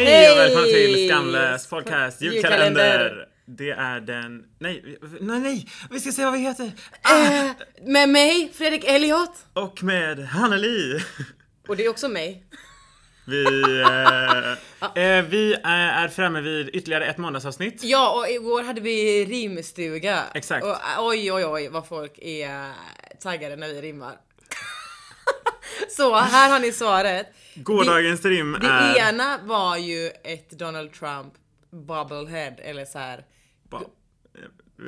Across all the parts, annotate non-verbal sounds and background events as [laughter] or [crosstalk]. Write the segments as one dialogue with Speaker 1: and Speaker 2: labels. Speaker 1: och välkomna till Skamlös podcast
Speaker 2: Julkalender.
Speaker 1: julkalender. Det är den... Nej, nej, nej! Vi ska se vad vi heter! Ah!
Speaker 2: Eh, Med mig, Fredrik Elliot.
Speaker 1: Och med Hanneli!
Speaker 2: Och det är också mig. [laughs]
Speaker 1: Vi, eh, eh, vi eh, är framme vid ytterligare ett måndagsavsnitt.
Speaker 2: Ja, och igår hade vi rimstuga.
Speaker 1: Exakt.
Speaker 2: Och, eh, oj, oj, oj vad folk är eh, taggade när vi rimmar. [laughs] Så här har ni svaret.
Speaker 1: Gårdagens rim
Speaker 2: Det
Speaker 1: är...
Speaker 2: ena var ju ett Donald Trump bubblehead eller så här
Speaker 1: Ba-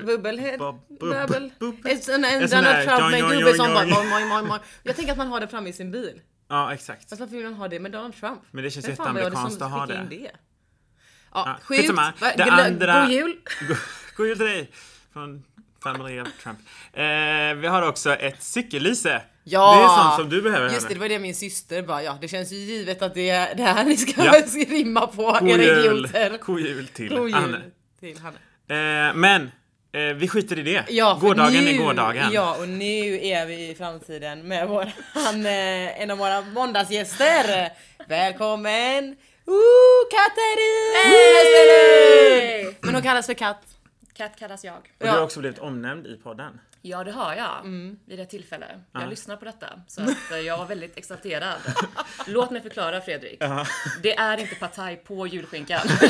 Speaker 2: bubblehead,
Speaker 1: Bub- bub-
Speaker 2: bubble.
Speaker 1: bub-
Speaker 2: En sån en
Speaker 1: En sån
Speaker 2: Donald
Speaker 1: här
Speaker 2: Trump med
Speaker 1: joing,
Speaker 2: en
Speaker 1: joing,
Speaker 2: gubbe som bara
Speaker 1: joing,
Speaker 2: moj,
Speaker 1: joing.
Speaker 2: moj, moj. Jag tänker att man har det framme i sin bil.
Speaker 1: Ja, exakt.
Speaker 2: Fast varför vill man ha det med Donald Trump?
Speaker 1: Men det känns
Speaker 2: Vem fan var det som
Speaker 1: jätteamerikanskt att ha
Speaker 2: skickade
Speaker 1: det.
Speaker 2: in det? Ja,
Speaker 1: Ja,
Speaker 2: sjukt.
Speaker 1: skitsamma.
Speaker 2: Va-
Speaker 1: Det
Speaker 2: glö-
Speaker 1: andra-
Speaker 2: God jul.
Speaker 1: Go- God jul till dig! Från Family of Trump. Eh, vi har också ett cykellyse.
Speaker 2: Ja!
Speaker 1: Det är sånt som du behöver
Speaker 2: Just det, det
Speaker 1: Hanne.
Speaker 2: var det min syster bara, ja det känns ju givet att det är det här ni ska
Speaker 1: Ja.
Speaker 2: [laughs] rimma på
Speaker 1: God
Speaker 2: era
Speaker 1: jul!
Speaker 2: idioter.
Speaker 1: God jul till
Speaker 2: God
Speaker 1: Hanne.
Speaker 2: jul till Hanne.
Speaker 1: Eh, men eh, vi skiter i det.
Speaker 2: Ja, för
Speaker 1: gårdagen
Speaker 2: nu,
Speaker 1: är gårdagen.
Speaker 2: Ja, och nu är vi i framtiden med våran, eh, en av våra måndagsgäster. Välkommen! Ooh, Katarina!
Speaker 3: Hej!
Speaker 2: Men hon kallas för Katt.
Speaker 3: Katt kallas jag.
Speaker 1: Och du har
Speaker 2: Ja.
Speaker 1: också blivit omnämnd i podden.
Speaker 3: Ja det har jag. Vid ett tillfälle. Jag lyssnar på detta. [laughs] Så att eh, jag var väldigt exalterad. Låt mig förklara Fredrik. Det är inte partaj på julskinkan. [laughs]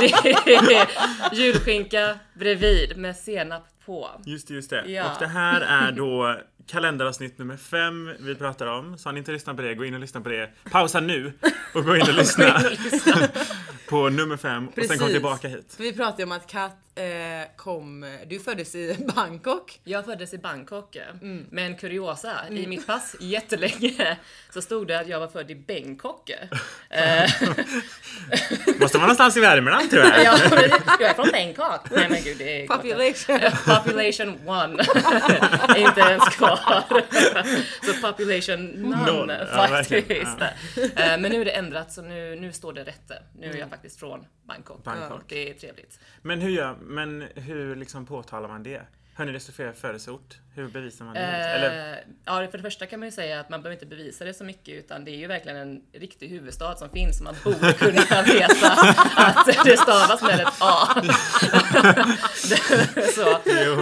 Speaker 3: det är julskinka bredvid med senap på.
Speaker 1: Just det, just det.
Speaker 3: Ja.
Speaker 1: Och det här är då kalenderavsnitt nummer fem vi pratar om. Så har ni inte lyssnat på det, gå in och lyssna på det. Pausa nu och gå in och
Speaker 2: [laughs]
Speaker 1: lyssna på nummer fem och sen kom
Speaker 2: Precis.
Speaker 1: tillbaka
Speaker 2: [laughs]
Speaker 1: hit.
Speaker 2: För vi pratade ju om att Kat eh, kom, du föddes i [laughs] Bangkok.
Speaker 3: Jag föddes i Bangkok. eh, Men kuriosa, i mitt pass jättelänge så stod det att jag var född i Bangkok. Eh,
Speaker 1: Måste
Speaker 3: [laughs]
Speaker 1: vara någonstans i Värmland tror
Speaker 2: [laughs]
Speaker 1: jag.
Speaker 3: jag, jag är från Bangkok. Nej men gud det är
Speaker 2: Population.
Speaker 3: [laughs] Population one. [laughs] inte ens kvar. [laughs] så population
Speaker 1: Noll,
Speaker 3: none
Speaker 1: ja,
Speaker 3: faktiskt.
Speaker 1: verkligen. Ja. Mm.
Speaker 3: Eh, Men nu är det ändrat så nu, nu står det rätt. Nu är jag faktiskt från Bangkok.
Speaker 1: Bangkok.
Speaker 3: Det är trevligt.
Speaker 1: Men hur gör, men hur liksom påtalar man det? Hörni, det står fel födelseort. Hur bevisar man det? Eller,
Speaker 3: Eh, ja, för det första kan man ju säga att man behöver inte bevisa det så mycket utan det är ju verkligen en riktig huvudstad som finns och man borde kunna veta att det stavas med ett A. [laughs] så.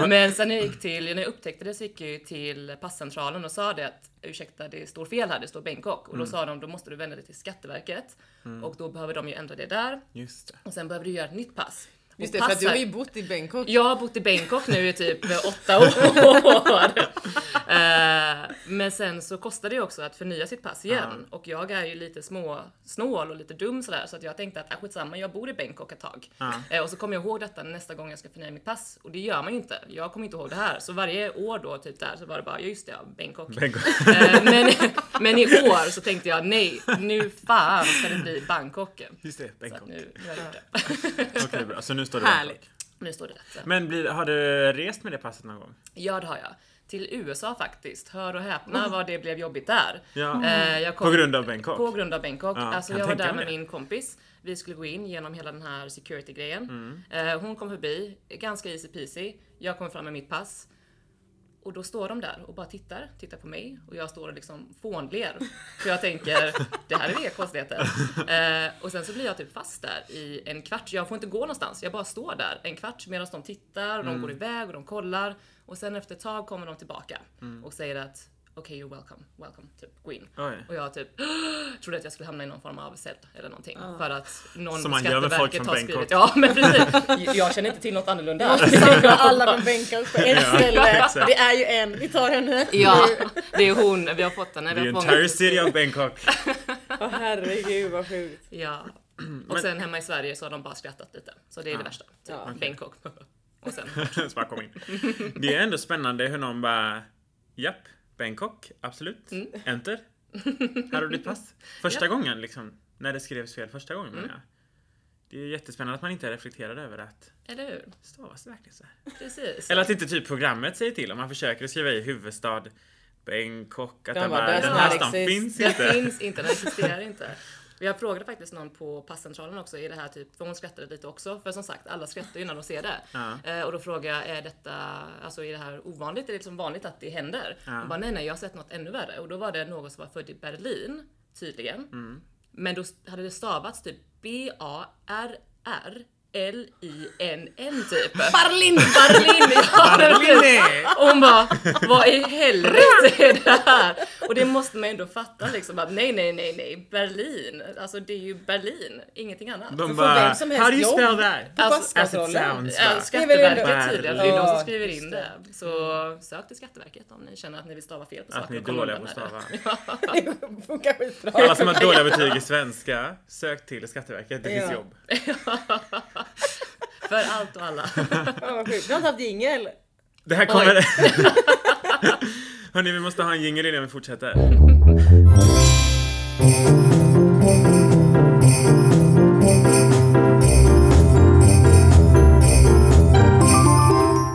Speaker 3: Men sen när jag gick till, när jag upptäckte det så gick jag ju till passcentralen och sa det att ursäkta det står fel här, det står Bangkok. Och då sa de då måste du vända dig till Skatteverket och då behöver de ju ändra det där
Speaker 1: just det.
Speaker 3: och sen behöver du göra ett nytt pass. Och
Speaker 2: Just det, för att
Speaker 3: pass
Speaker 2: du har
Speaker 3: är-
Speaker 2: ju bott i Bangkok.
Speaker 3: jag har bott i Bangkok nu i typ åtta år. Eh, Men sen så kostar det ju också att förnya sitt pass igen. Och jag är ju lite små snål och lite dum sådär så att jag tänkte att ah, skitsamma, jag bor i Bangkok ett tag. Eh, Och så kommer jag ihåg detta nästa gång jag ska förnya mitt pass. Och det gör man ju inte. Jag kommer inte ihåg det här. Så varje år då typ där så var det bara, ja just det, ja, Bangkok.
Speaker 1: Bangkok.
Speaker 3: Eh, men, men i år så tänkte jag nej, nu fan ska det bli Bangkok.
Speaker 1: Just det,
Speaker 3: Så att
Speaker 1: Bangkok.
Speaker 3: nu, nu har jag gjort det. [laughs]
Speaker 1: Okej, bra. Så nu står det
Speaker 2: Härligt.
Speaker 1: Bangkok.
Speaker 3: Nu står det rätt.
Speaker 1: Men blir, har du rest med det passet någon gång?
Speaker 3: Ja det har jag. Till USA faktiskt. Hör och häpna vad det blev jobbigt där.
Speaker 1: Oh. Ja.
Speaker 2: Mm.
Speaker 3: Eh, jag
Speaker 1: På grund av Bangkok?
Speaker 3: På grund av Bangkok.
Speaker 1: Ja,
Speaker 3: alltså
Speaker 1: kan
Speaker 3: jag var
Speaker 1: tänka
Speaker 3: där
Speaker 1: mig
Speaker 3: med
Speaker 1: det.
Speaker 3: min kompis. Vi skulle gå in genom hela den här security grejen.
Speaker 1: Mm.
Speaker 3: Eh, hon kom förbi, ganska easy peasy. Jag kom fram med mitt pass. Och då står de där och bara tittar, tittar på mig och jag står och liksom fånler. För jag tänker, det här är inga konstigheter. Eh, och sen så blir jag typ fast där i en kvart. Jag får inte gå någonstans, jag bara står där en kvart medan de tittar, och
Speaker 1: Mm.
Speaker 3: de går iväg och de kollar. Och sen efter ett tag kommer de tillbaka och säger att okej, you're welcome, welcome, typ gå in.
Speaker 1: Mm. Oj.
Speaker 3: Och jag typ trodde att jag skulle hamna i någon form av cell eller någonting. För att någon
Speaker 1: Som
Speaker 3: Som
Speaker 1: man gör med folk från
Speaker 3: Skatteverket folk har
Speaker 1: Bangkok.
Speaker 3: skrivit. Ja men precis, jag känner inte till något
Speaker 2: [laughs]
Speaker 3: annorlunda.
Speaker 2: Samla alla från Bangkok på ett ställe.
Speaker 1: exakt.
Speaker 2: Det är ju en, vi tar henne.
Speaker 3: Ja, det är hon. Vi har fått henne.
Speaker 1: The
Speaker 3: Vi har
Speaker 1: entire
Speaker 3: fångat
Speaker 1: city of Bangkok. [laughs]
Speaker 2: Åh herregud vad sjukt.
Speaker 3: Ja.
Speaker 1: [clears throat]
Speaker 3: Och sen hemma i Sverige så har de bara skrattat lite. Så det är det värsta. Typ
Speaker 2: Ja.
Speaker 3: Bangkok. [laughs] Och sen,
Speaker 1: Så bara kom in. Det är ändå spännande hur någon bara Japp, Bangkok, absolut.
Speaker 2: Mm.
Speaker 1: Enter. Här har du ditt
Speaker 2: [laughs]
Speaker 1: pass. Första gången liksom, när det skrevs fel första gången
Speaker 2: Mm.
Speaker 1: menar jag. Det är jättespännande att man inte reflekterar över att
Speaker 3: eller hur?
Speaker 1: stavas det verkligen så här?
Speaker 3: Precis.
Speaker 1: Eller att inte typ programmet säger till om man försöker skriva i huvudstad Bangkok, att
Speaker 2: De
Speaker 1: den,
Speaker 2: bara,
Speaker 1: bara,
Speaker 2: "Does
Speaker 1: den
Speaker 2: not
Speaker 1: här stan
Speaker 2: exist."
Speaker 1: finns
Speaker 3: Den
Speaker 1: inte.
Speaker 3: finns inte, den existerar inte. Jag frågade faktiskt någon på passcentralen också i det här typ, för hon skrattade lite också. För som sagt, alla skrattar ju när de ser det.
Speaker 1: Ja.
Speaker 3: Eh, och då frågade jag, är detta, alltså är det här ovanligt? Är det liksom vanligt att det händer?
Speaker 1: Ja. Mm.
Speaker 3: Hon bara, nej nej, jag har sett något ännu värre. Och då var det någon som var född i Berlin, tydligen. Men då hade det stavats typ B-A-R-R-L-I-N-N
Speaker 1: [laughs]
Speaker 3: typ.
Speaker 2: Barlind!
Speaker 3: Barlin! Ja, det var typ- kul.
Speaker 2: [laughs]
Speaker 1: Nej!
Speaker 3: Och hon bara, vad i helvete är det här? Och det måste man ändå fatta liksom att nej, nej, nej, nej, Berlin. Alltså det är ju Berlin, ingenting annat.
Speaker 1: De
Speaker 2: får
Speaker 1: bara,
Speaker 2: vem som helst
Speaker 1: how do you spell
Speaker 2: jobb
Speaker 1: that?
Speaker 2: på
Speaker 3: Alltså,
Speaker 1: As it
Speaker 2: Postkontrollen.
Speaker 1: sounds
Speaker 3: Ja,
Speaker 1: va?
Speaker 2: Det är väl ändå-
Speaker 3: Skatteverket tydligen, det är de som
Speaker 2: Ja,
Speaker 3: skriver in
Speaker 2: just
Speaker 3: det. Så sök till Skatteverket om ni känner att ni vill stava fel på saker.
Speaker 1: Att ni är
Speaker 3: och komma
Speaker 1: dåliga på
Speaker 3: undan
Speaker 1: att
Speaker 3: med det.
Speaker 1: stava.
Speaker 2: [laughs] Det funkar skitbra.
Speaker 1: Alla som har dåliga betyg i svenska, sök till Skatteverket, det finns
Speaker 2: Ja.
Speaker 1: jobb.
Speaker 3: För allt och alla.
Speaker 2: Ja, vad sjukt. Du har inte haft jingel?
Speaker 1: Det här kommer... [laughs] Hörni, vi måste ha en jingel innan vi fortsätter.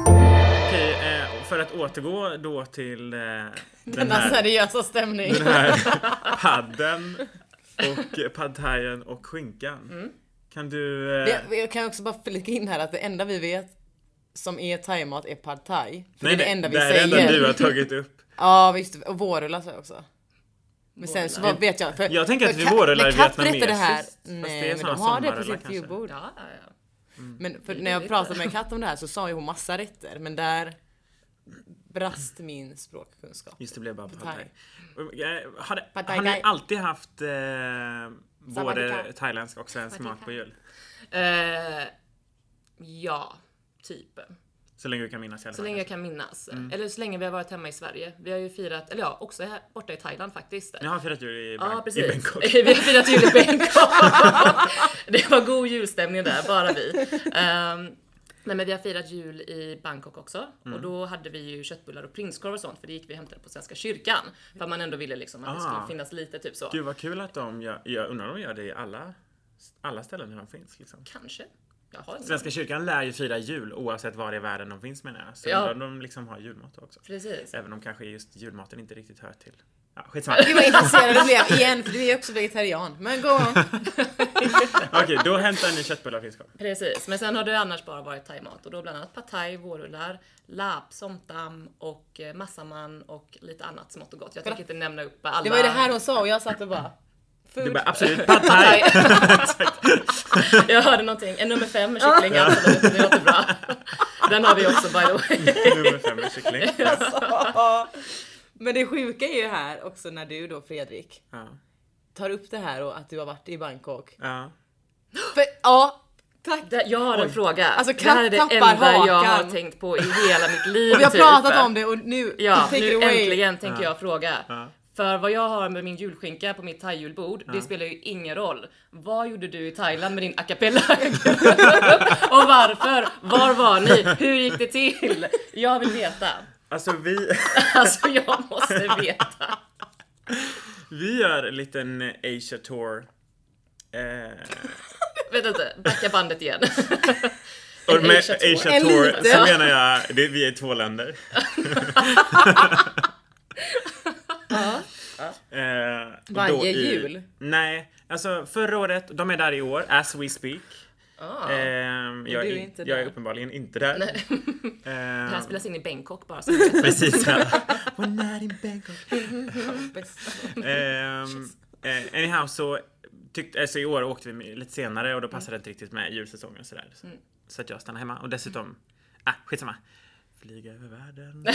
Speaker 1: Okej, eh, för att återgå då till eh, den
Speaker 2: Denna
Speaker 1: här,
Speaker 2: seriösa stämning.
Speaker 1: den här padden och eh, pad thaien och skinkan. Kan du... Eh,
Speaker 2: Mm. Det, jag kan också bara flika in här att det enda vi vet som är thaimat är pad thai. För det är det enda vi
Speaker 1: det är det
Speaker 2: säger.
Speaker 1: enda du har tagit upp.
Speaker 2: Ja visst, och vårrullar sa jag också. Men sen så
Speaker 3: Vårrullar.
Speaker 2: vad vet jag. För,
Speaker 1: Jag tänker att
Speaker 2: för
Speaker 1: vi
Speaker 2: Kat-
Speaker 1: vårrullar
Speaker 2: när
Speaker 1: är
Speaker 2: Kat berättade det här.
Speaker 1: vietnamesiskt, fast det är
Speaker 2: Nej men
Speaker 1: såna
Speaker 2: de har det
Speaker 1: sommarrullar
Speaker 2: på sitt
Speaker 1: kanske. Mm.
Speaker 2: julbord.
Speaker 3: Ja, ja, ja.
Speaker 2: Men för
Speaker 3: Det är
Speaker 2: när jag
Speaker 3: lite.
Speaker 2: pratade med Kat om det här så sa ju hon massa rätter men där brast min språkkunskap.
Speaker 1: Just det, blev bara
Speaker 2: Pad
Speaker 1: pad
Speaker 2: thai.
Speaker 1: thai. Eh, Har, det-
Speaker 2: Pad thai
Speaker 1: har ni
Speaker 2: thai.
Speaker 1: alltid haft eh, både
Speaker 2: Sawadika.
Speaker 1: thailändsk och svensk
Speaker 3: Sawadika.
Speaker 1: mat på jul?
Speaker 3: Eh, ja, typ.
Speaker 1: Så länge du kan minnas i alla
Speaker 3: Så
Speaker 1: fall.
Speaker 3: länge jag kan minnas. Eller så länge vi har varit hemma i Sverige. Vi har ju firat, eller ja, också här, borta i Thailand faktiskt.
Speaker 1: Ni har firat jul i,
Speaker 3: Ja,
Speaker 1: Bang-
Speaker 3: precis.
Speaker 1: i Bangkok.
Speaker 3: [laughs] vi har firat jul i
Speaker 1: [laughs]
Speaker 3: Bangkok. det var god julstämning där, bara vi. Ehm, nej men vi har firat jul i Bangkok också. Och
Speaker 1: Mm.
Speaker 3: då hade vi ju köttbullar och prinskorv och sånt, för det gick vi och hämtade på Svenska kyrkan. För att man ändå ville liksom att det
Speaker 1: Ah.
Speaker 3: skulle finnas lite typ så.
Speaker 1: Gud vad kul att de gör, jag undrar om de gör det i alla, alla ställen där de finns. Liksom.
Speaker 3: Kanske. Jag har ingen
Speaker 1: Svenska kyrkan lär ju fira jul oavsett var i världen de finns menar jag. Så
Speaker 3: Ja.
Speaker 1: undrar om de liksom har julmat också.
Speaker 3: Precis.
Speaker 1: Även om kanske just julmaten inte riktigt hör till. Ja,
Speaker 2: [laughs]
Speaker 1: skitsamma.
Speaker 2: Gud vad intresserad du blev igen för du är också vegetarian. Men go on.
Speaker 1: Okej, då hämtar ni köttbullar och prinskorv.
Speaker 3: Precis. Men sen har det annars bara varit thaimat och då bland annat pad thai, vårrullar, lap, somtam och eh, massaman och lite annat smått och gott. Jag tänker inte nämna upp alla.
Speaker 2: Det var ju det här hon sa och jag satt och bara...
Speaker 1: Du
Speaker 2: Food.
Speaker 1: bara absolut pad thai!
Speaker 3: [laughs] Jag hörde någonting. En nummer fem med kycklingar. så Det det låter bra. Den har vi också by the way.
Speaker 1: Nummer fem är kyckling.
Speaker 2: Ja. Men det sjuka är ju här också när du då Fredrik
Speaker 1: Ja.
Speaker 2: tar upp det här och att du har varit i Bangkok.
Speaker 1: Ja.
Speaker 2: För, ja, tack!
Speaker 3: Det- Jag har en fråga.
Speaker 2: Alltså,
Speaker 3: det här är
Speaker 2: katt
Speaker 3: det
Speaker 2: tappar
Speaker 3: enda jag har
Speaker 2: hakan.
Speaker 3: tänkt på i hela mitt liv.
Speaker 2: Och vi har
Speaker 3: typ.
Speaker 2: pratat om det och nu,
Speaker 3: Ja,
Speaker 2: take
Speaker 3: nu
Speaker 2: it away.
Speaker 3: äntligen tänker jag fråga.
Speaker 1: Ja.
Speaker 3: För vad jag har med min julskinka på mitt thai-julbord, det spelar ju ingen roll. Vad gjorde du i Thailand med din a cappella? [laughs] Och varför? Var var ni? Hur gick det till? Jag vill veta.
Speaker 1: Alltså vi, [laughs]
Speaker 3: Alltså jag måste veta.
Speaker 1: vi gör en liten Asia tour. Eh,
Speaker 3: Vänta inte, backa
Speaker 1: [laughs]
Speaker 3: bandet igen.
Speaker 1: och med
Speaker 3: Asia
Speaker 1: Asia
Speaker 3: tour.
Speaker 1: tour,
Speaker 2: En liten.
Speaker 1: så menar jag, det, vi är två
Speaker 2: [laughs]
Speaker 1: länder. [laughs] Eh, och då
Speaker 2: Varje
Speaker 1: i-
Speaker 2: jul?
Speaker 1: Nej, alltså förra året, de är där i år, as we speak.
Speaker 3: Ah.
Speaker 1: Eh,
Speaker 2: du
Speaker 1: jag,
Speaker 2: är
Speaker 1: är in,
Speaker 2: inte
Speaker 1: jag är
Speaker 2: där.
Speaker 1: uppenbarligen inte där.
Speaker 3: Det här
Speaker 1: Eh,
Speaker 3: spelas in i Bangkok bara så ni vet.
Speaker 1: precis.
Speaker 2: [laughs]
Speaker 1: Ja. One night in Bangkok.
Speaker 2: Bäst.
Speaker 1: Ehm, eh, anyhow så tyckte, alltså i år åkte vi med- lite senare och då passade det inte riktigt med julsäsongen och sådär.
Speaker 3: Mm.
Speaker 1: Så, så att jag stannade hemma och dessutom, ah skitsamma. Flyga över världen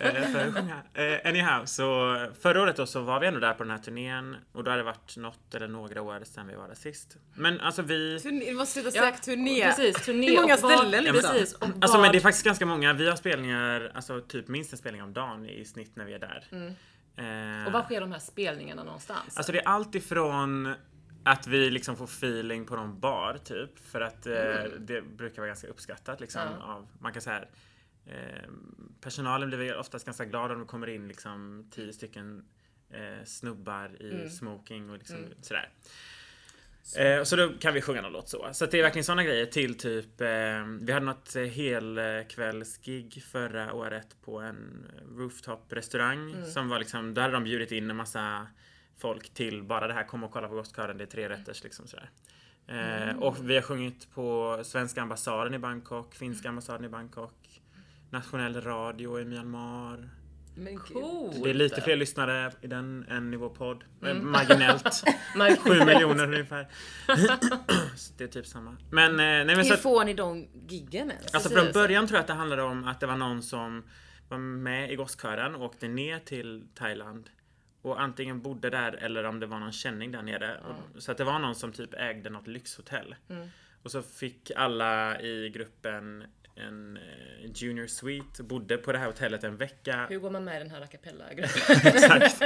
Speaker 1: eh, för att sjunga. Eh, anyhow, så förra året då så var vi ändå där på den här turnén och då hade det varit något eller några år sedan vi var där sist. Men alltså vi...
Speaker 2: Turné, du måste sluta
Speaker 3: Ja,
Speaker 2: säga turné.
Speaker 3: Precis, turné.
Speaker 2: Hur många
Speaker 3: och vad-
Speaker 2: ställen liksom?
Speaker 3: Precis, och
Speaker 1: Alltså
Speaker 3: vad-
Speaker 1: men det är faktiskt ganska många. Vi har spelningar, alltså typ minst en spelning om dagen i snitt när vi är där. Eh,
Speaker 3: Mm. Och var sker de här spelningarna någonstans?
Speaker 1: Alltså det är allt ifrån att vi liksom får feeling på någon bar typ. För att eh, det brukar vara ganska uppskattat liksom.
Speaker 3: Ja.
Speaker 1: Av, man kan säga eh, personalen blir väl oftast ganska glad om det kommer in liksom tio stycken eh, snubbar i smoking och liksom sådär. Eh, och så då kan vi sjunga någon låt så. Så att det är verkligen sådana grejer till typ eh, Vi hade något eh, helkvällsgig förra året på en rooftop restaurang som var liksom Där hade de bjudit in en massa folk till bara det här kom och kolla på Gothkören, det är tre rätters liksom sådär. Eh, Och vi har sjungit på svenska ambassaden i Bangkok, finska ambassaden i Bangkok, nationell radio i Myanmar.
Speaker 2: Men gud.
Speaker 3: Coolt!
Speaker 1: Det är lite fler lyssnare i den än i vår podd. Mm. [laughs] Marginellt.
Speaker 3: Man-
Speaker 1: Sju miljoner ungefär. [clears throat] Så det är typ samma. Men, eh, nej, men så
Speaker 2: Hur
Speaker 1: att,
Speaker 2: får ni de giggen ens?
Speaker 1: alltså
Speaker 3: precis.
Speaker 1: från början tror jag att det handlade om att det var någon som var med i gosskören och åkte ner till Thailand. Och antingen bodde där eller om det var någon känning där nere. Och, så att det var någon som typ ägde något lyxhotell. Och så fick alla i gruppen en eh, junior suite, bodde på det här hotellet en vecka.
Speaker 3: Hur går man med i den här a
Speaker 1: [laughs]
Speaker 3: cappella-gruppen?
Speaker 1: Exakt.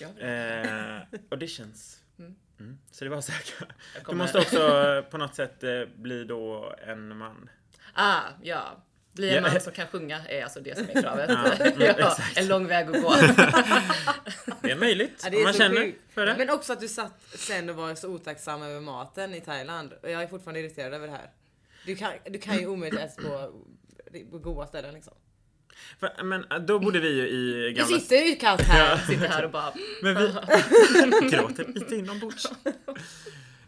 Speaker 3: Ja.
Speaker 1: Eh, auditions. Mm. Så det var säkert. Du
Speaker 3: kommer-
Speaker 1: måste också eh, på något sätt eh, bli då en man.
Speaker 3: Ah, ja. Bli en
Speaker 1: Ja.
Speaker 3: man som kan sjunga är alltså det som är kravet.
Speaker 1: [laughs] Ja, mm,
Speaker 3: [laughs] ja,
Speaker 1: exakt.
Speaker 3: en lång väg att gå.
Speaker 1: Det är möjligt
Speaker 2: Ja, det
Speaker 1: om
Speaker 2: är
Speaker 1: man
Speaker 2: så
Speaker 1: känner
Speaker 2: sjukt.
Speaker 1: för det.
Speaker 2: Men också att du satt sen och var så otacksam över maten i Thailand. Och jag är fortfarande irriterad över det här. Du kan, du kan ju omöjligt äta på, på goda ställen liksom.
Speaker 1: För, men eh, då bodde vi ju i
Speaker 2: Du
Speaker 1: gamla...
Speaker 2: sitter ju kallt här.
Speaker 3: Sitter här och bara...
Speaker 1: Men vi...
Speaker 3: [laughs]
Speaker 1: Gråter lite inombords.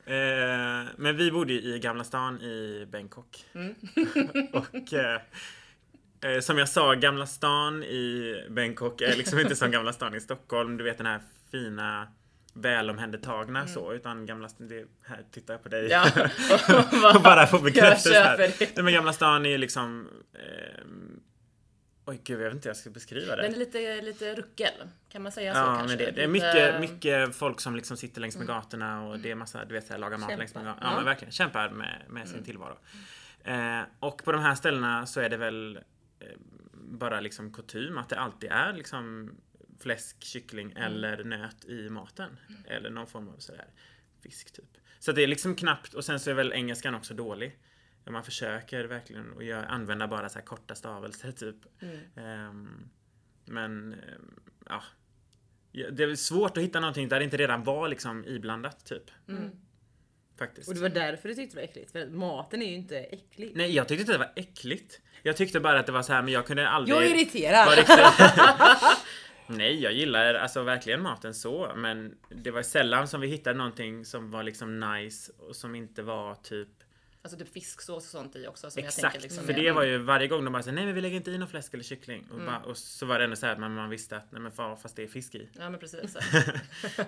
Speaker 1: Eh, men vi bodde ju i Gamla stan i Bangkok.
Speaker 3: Mm.
Speaker 1: [laughs] Och eh, eh, som jag sa, Gamla stan i Bangkok är liksom inte som Gamla stan i Stockholm. Du vet den här fina välomhändertagna så utan gamla stan, det, här tittar jag på dig
Speaker 3: Mm. Ja.
Speaker 1: [laughs] och bara få bekräftelse
Speaker 3: Jag
Speaker 1: här.
Speaker 3: köper det.
Speaker 1: Nej men Gamla stan är ju liksom eh, Oj gud, jag vet inte hur jag ska beskriva det.
Speaker 3: Men lite, lite ruckel. Kan man säga så
Speaker 1: Ja,
Speaker 3: kanske?
Speaker 1: men det, det är
Speaker 3: Lite- Mm.
Speaker 1: mycket, mycket folk som liksom sitter längs med gatorna och det är massa, du vet, så här, lagar mat
Speaker 3: Kämpar.
Speaker 1: längs med gatorna. Ja,
Speaker 3: Ja. Mm.
Speaker 1: men verkligen. Kämpar med, med sin tillvaro. Eh, och på de här ställena så är det väl eh, bara liksom kutym att det alltid är liksom fläsk, kyckling
Speaker 3: Mm.
Speaker 1: eller nöt i maten. Eller någon form av sådär fisk typ. Så det är liksom knappt, och sen så är väl engelskan också dålig. Man försöker verkligen att göra- använda bara så här korta stavelser [laughs] typ.
Speaker 2: Mm.
Speaker 1: Ehm, men ehm, ja. Ja, Det är väl svårt att hitta någonting där det inte redan var liksom iblandat typ. Faktiskt.
Speaker 2: Mm. Och det var därför du tyckte det var äckligt. För att maten är ju inte äcklig.
Speaker 1: Nej jag tyckte inte det var äckligt. Jag tyckte bara att det var så här men jag kunde aldrig...
Speaker 2: Jag är irriterad.
Speaker 1: vara riktigt- [laughs] Nej jag gillar alltså verkligen maten så men det var sällan som vi hittade någonting som var liksom nice och som inte var typ
Speaker 3: Alltså typ fisksås och sånt i också. Som jag
Speaker 1: Exakt,
Speaker 3: tänker liksom Mm.
Speaker 1: för
Speaker 3: är-
Speaker 1: det var ju varje gång de bara sa nej men vi lägger inte i någon fläsk eller kyckling. Och, bara, och så var det ändå så här men man visste att nej men fan, fast det är fisk
Speaker 3: [laughs]
Speaker 1: i.
Speaker 3: Ja
Speaker 1: [laughs]
Speaker 3: men precis.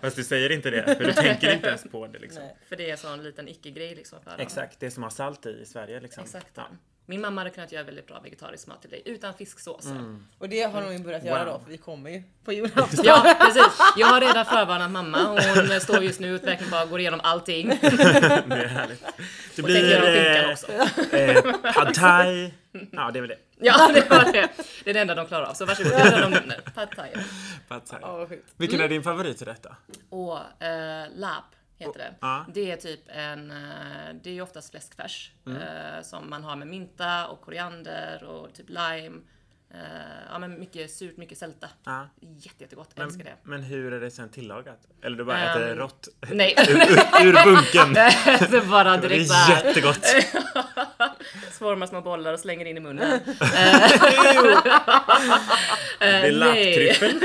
Speaker 1: Fast du säger inte det för du tänker inte ens på det liksom.
Speaker 2: Nej.
Speaker 3: För det är en sån liten icke-grej liksom. För alla.
Speaker 1: Exakt, det som har salt i i Sverige liksom.
Speaker 3: Exakt.
Speaker 1: Ja.
Speaker 3: Min mamma hade kunnat göra väldigt bra vegetarisk mat till dig utan fisksåser.
Speaker 2: Och det har de ju börjat göra
Speaker 1: Wow.
Speaker 2: då för vi kommer ju på julafton.
Speaker 3: Ja precis. Jag har redan förvarnat mamma. Hon står just nu och verkligen bara går igenom allting. Och
Speaker 1: [laughs] Det är
Speaker 3: [laughs]
Speaker 1: härligt. Det
Speaker 3: tänker
Speaker 1: blir
Speaker 3: om finkan
Speaker 1: eh,
Speaker 3: också.
Speaker 1: eh, pad
Speaker 3: [laughs]
Speaker 1: thai. Ja det är väl det.
Speaker 3: Ja det var det. Det är det enda de klarar av. Så varsågod. Det är det enda de nämner. Pad thai.
Speaker 1: Pad thai.
Speaker 2: Ja, vad sjukt.
Speaker 3: Mm.
Speaker 1: Vilken är din favoriträtt då?
Speaker 3: Och eh, lab heter det.
Speaker 1: Ja.
Speaker 3: Det är typ en, eh, det är ju oftast fläskfärs eh, som man har med mynta och koriander och typ lime. Eh, ja men mycket surt, mycket sälta.
Speaker 1: Ja.
Speaker 3: Jätte, jättegott,
Speaker 1: Men,
Speaker 3: älskar det.
Speaker 1: men hur är det sen tillagat? Eller du bara äter det
Speaker 3: Ehm,
Speaker 1: rått [laughs]
Speaker 3: Nej, [laughs]
Speaker 1: ur, ur bunken?
Speaker 3: det är Eh, bara
Speaker 1: Det
Speaker 3: direkt
Speaker 1: är
Speaker 3: bara [laughs]
Speaker 1: jättegott.
Speaker 3: formar små bollar och slänger in i munnen. Eh,
Speaker 1: Det är
Speaker 3: nej.
Speaker 1: lapptryffel.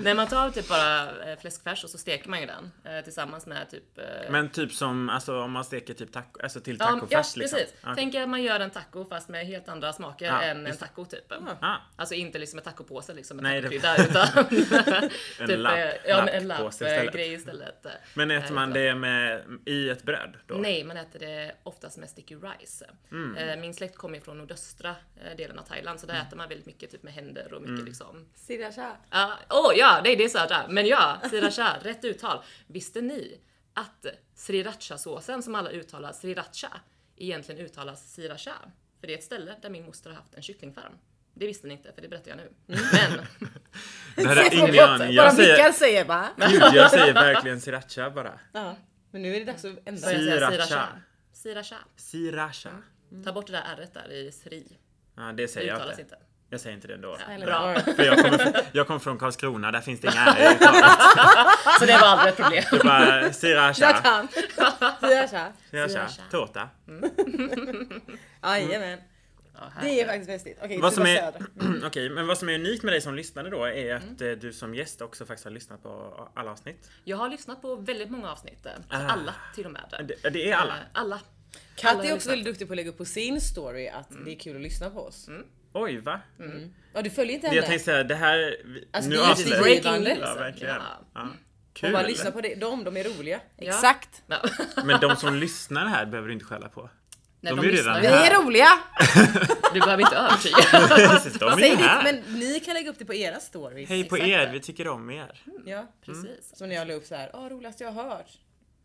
Speaker 3: nej, man tar typ bara eh, fläskfärs och så steker man ju den eh, tillsammans med typ eh,
Speaker 1: Men typ som alltså, om man steker typ taco, alltså till
Speaker 3: Ja, ja
Speaker 1: tacofärs liksom.
Speaker 3: precis.
Speaker 1: Okej.
Speaker 3: Tänk er att man gör en taco fast med helt andra smaker
Speaker 1: Ja,
Speaker 3: än en
Speaker 1: just det.
Speaker 3: taco typ.
Speaker 1: Ah,
Speaker 3: Alltså inte liksom en tacopåse liksom med
Speaker 1: Nej, det-
Speaker 3: tacokrydda utan
Speaker 1: [laughs]
Speaker 3: [laughs]
Speaker 1: en
Speaker 3: typ,
Speaker 1: lapp,
Speaker 3: eh, ja, en lapp
Speaker 1: lapppåse
Speaker 3: istället.
Speaker 1: istället.
Speaker 3: grej istället.
Speaker 1: [laughs] Men
Speaker 3: Eh,
Speaker 1: äter man
Speaker 3: utan-
Speaker 1: det med, i ett bröd då?
Speaker 3: Nej, man äter det oftast med sticky rice.
Speaker 1: Mm.
Speaker 3: Eh, Min släkt kommer ju från nordöstra eh, delen av Thailand så där äter man väldigt mycket typ med händer och mycket
Speaker 1: Mm.
Speaker 3: liksom
Speaker 2: Sriracha.
Speaker 3: Ja, Åh ja, nej det är sriracha. Men ja, sriracha, [laughs] rätt uttal. Visste ni att srirachasåsen som alla uttalar sriracha egentligen uttalas sriracha? För det är ett ställe där min moster har haft en kycklingfarm. Det visste ni inte, för det berättar jag
Speaker 1: Mm.
Speaker 3: nu.
Speaker 1: [laughs]
Speaker 3: Men
Speaker 1: Det
Speaker 3: [laughs]
Speaker 1: här är
Speaker 2: Så
Speaker 1: ingen
Speaker 2: gott.
Speaker 1: aning.
Speaker 2: Bara
Speaker 1: Jag
Speaker 2: Mikael
Speaker 1: säger,
Speaker 2: säger bara.
Speaker 1: gud, jag säger verkligen sriracha bara.
Speaker 2: Ja. Men nu är det dags att ändra.
Speaker 3: börjar jag säga
Speaker 1: Sriracha.
Speaker 3: sriracha. Sriracha.
Speaker 1: Sriracha.
Speaker 3: Ta bort det där r där i sri.
Speaker 1: Ja, det
Speaker 3: Det
Speaker 1: säger jag
Speaker 3: uttalas
Speaker 1: inte.
Speaker 3: inte.
Speaker 1: Jag säger inte det ändå.
Speaker 3: Nej.
Speaker 2: Bra.
Speaker 1: För jag kommer, jag kommer från Karlskrona, där finns det inga ärr i uttalet.
Speaker 3: Så det var aldrig ett problem. [laughs]
Speaker 1: Det är bara sriracha,
Speaker 2: Jag kan. Sriracha.
Speaker 1: sriracha,
Speaker 3: Sriracha.
Speaker 1: tårta.
Speaker 2: Jajamän.
Speaker 3: Ja, här.
Speaker 2: Det är faktiskt festligt. Okej,
Speaker 1: Vad
Speaker 2: du
Speaker 1: som
Speaker 2: var
Speaker 1: är, [clears throat]
Speaker 2: söder.
Speaker 1: Okej, men vad som är unikt med dig som lyssnare då är att
Speaker 3: Mm.
Speaker 1: eh, du som gäst också faktiskt har lyssnat på alla avsnitt.
Speaker 3: Jag har lyssnat på väldigt många avsnitt. eh,
Speaker 1: Ah.
Speaker 3: Alla till och med.
Speaker 1: Det, det är alla.
Speaker 3: Eh, Alla.
Speaker 2: Katt är
Speaker 3: har
Speaker 2: också
Speaker 3: lyssnat.
Speaker 2: väldigt duktig på att lägga upp på sin story att det är kul att lyssna på oss.
Speaker 3: Mm.
Speaker 1: Oj, va?
Speaker 2: Ja du följer inte
Speaker 1: Det jag
Speaker 2: henne?
Speaker 1: tänkte säga, det här... vi-
Speaker 2: Alltså,
Speaker 1: nu
Speaker 2: det är ju
Speaker 1: avslöjar vi.
Speaker 2: breaking
Speaker 3: news.
Speaker 1: Ja, verkligen.
Speaker 3: Ja.
Speaker 1: Ja.
Speaker 2: Hon
Speaker 1: Kul!
Speaker 2: bara lyssna på det. dem, de är roliga.
Speaker 3: Ja.
Speaker 2: Exakt!
Speaker 3: Ja.
Speaker 1: Men de som lyssnar här behöver du inte skälla
Speaker 2: [laughs]
Speaker 1: på.
Speaker 3: [laughs] Nej,
Speaker 1: De
Speaker 3: de
Speaker 1: är ju
Speaker 3: lyssnar
Speaker 1: redan
Speaker 3: ju.
Speaker 2: Vi är roliga!
Speaker 3: Du behöver inte övertyga.
Speaker 1: Precis, de är
Speaker 2: Säg
Speaker 1: ju
Speaker 2: det,
Speaker 1: här!
Speaker 2: men ni kan lägga upp det på era stories.
Speaker 1: Hej på
Speaker 3: exakt.
Speaker 1: er, vi tycker om er.
Speaker 2: Ja.
Speaker 3: Precis.
Speaker 2: Som när jag la upp så här, åh roligast jag har hört.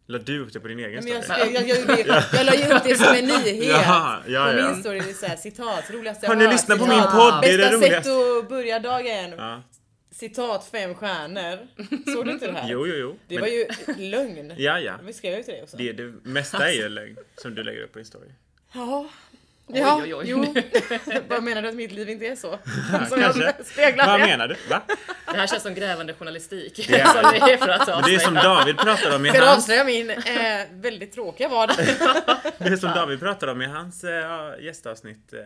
Speaker 1: La du upp det på din egen
Speaker 2: Men jag,
Speaker 1: story?
Speaker 2: jag, jag, jag, jag, jag la ju upp det som en nyhet.
Speaker 1: Jaha, ja,
Speaker 2: på
Speaker 1: ja.
Speaker 2: min story är det så här, citat, roligast jag
Speaker 1: Har ni
Speaker 2: hört,
Speaker 1: lyssnat på
Speaker 2: citat.
Speaker 1: min podd? Det är det
Speaker 2: Bästa sätt
Speaker 1: roligaste.
Speaker 2: att börja dagen.
Speaker 1: Ja.
Speaker 2: Citat fem stjärnor. Såg du inte det här?
Speaker 1: Jo, jo, jo.
Speaker 2: Det
Speaker 1: Men-
Speaker 2: var ju lögn.
Speaker 1: Ja, ja.
Speaker 2: Vi skrev ju Alltså- till dig också.
Speaker 1: Det, det mesta är ju lögn som du lägger upp på din
Speaker 2: [laughs]
Speaker 1: story.
Speaker 2: Ja. Ja,
Speaker 3: oj, oj. [laughs]
Speaker 2: jo. Vad menar du att mitt liv inte
Speaker 1: [laughs]
Speaker 2: är så? Som
Speaker 1: Kanske.
Speaker 2: jag [laughs] speglar
Speaker 1: Vad
Speaker 2: det.
Speaker 1: menar du?
Speaker 2: [laughs]
Speaker 1: Va?
Speaker 3: Det här känns som grävande journalistik.
Speaker 1: Det är
Speaker 3: [laughs] som det är för att
Speaker 1: Men Det är som
Speaker 3: avslöja.
Speaker 1: David pratar om i
Speaker 2: Ska du
Speaker 1: hans...
Speaker 2: avslöja min eh, väldigt
Speaker 1: [laughs]
Speaker 2: tråkiga vardag?
Speaker 1: Det är som David pratar om i hans eh, ja, gästavsnitt. eh,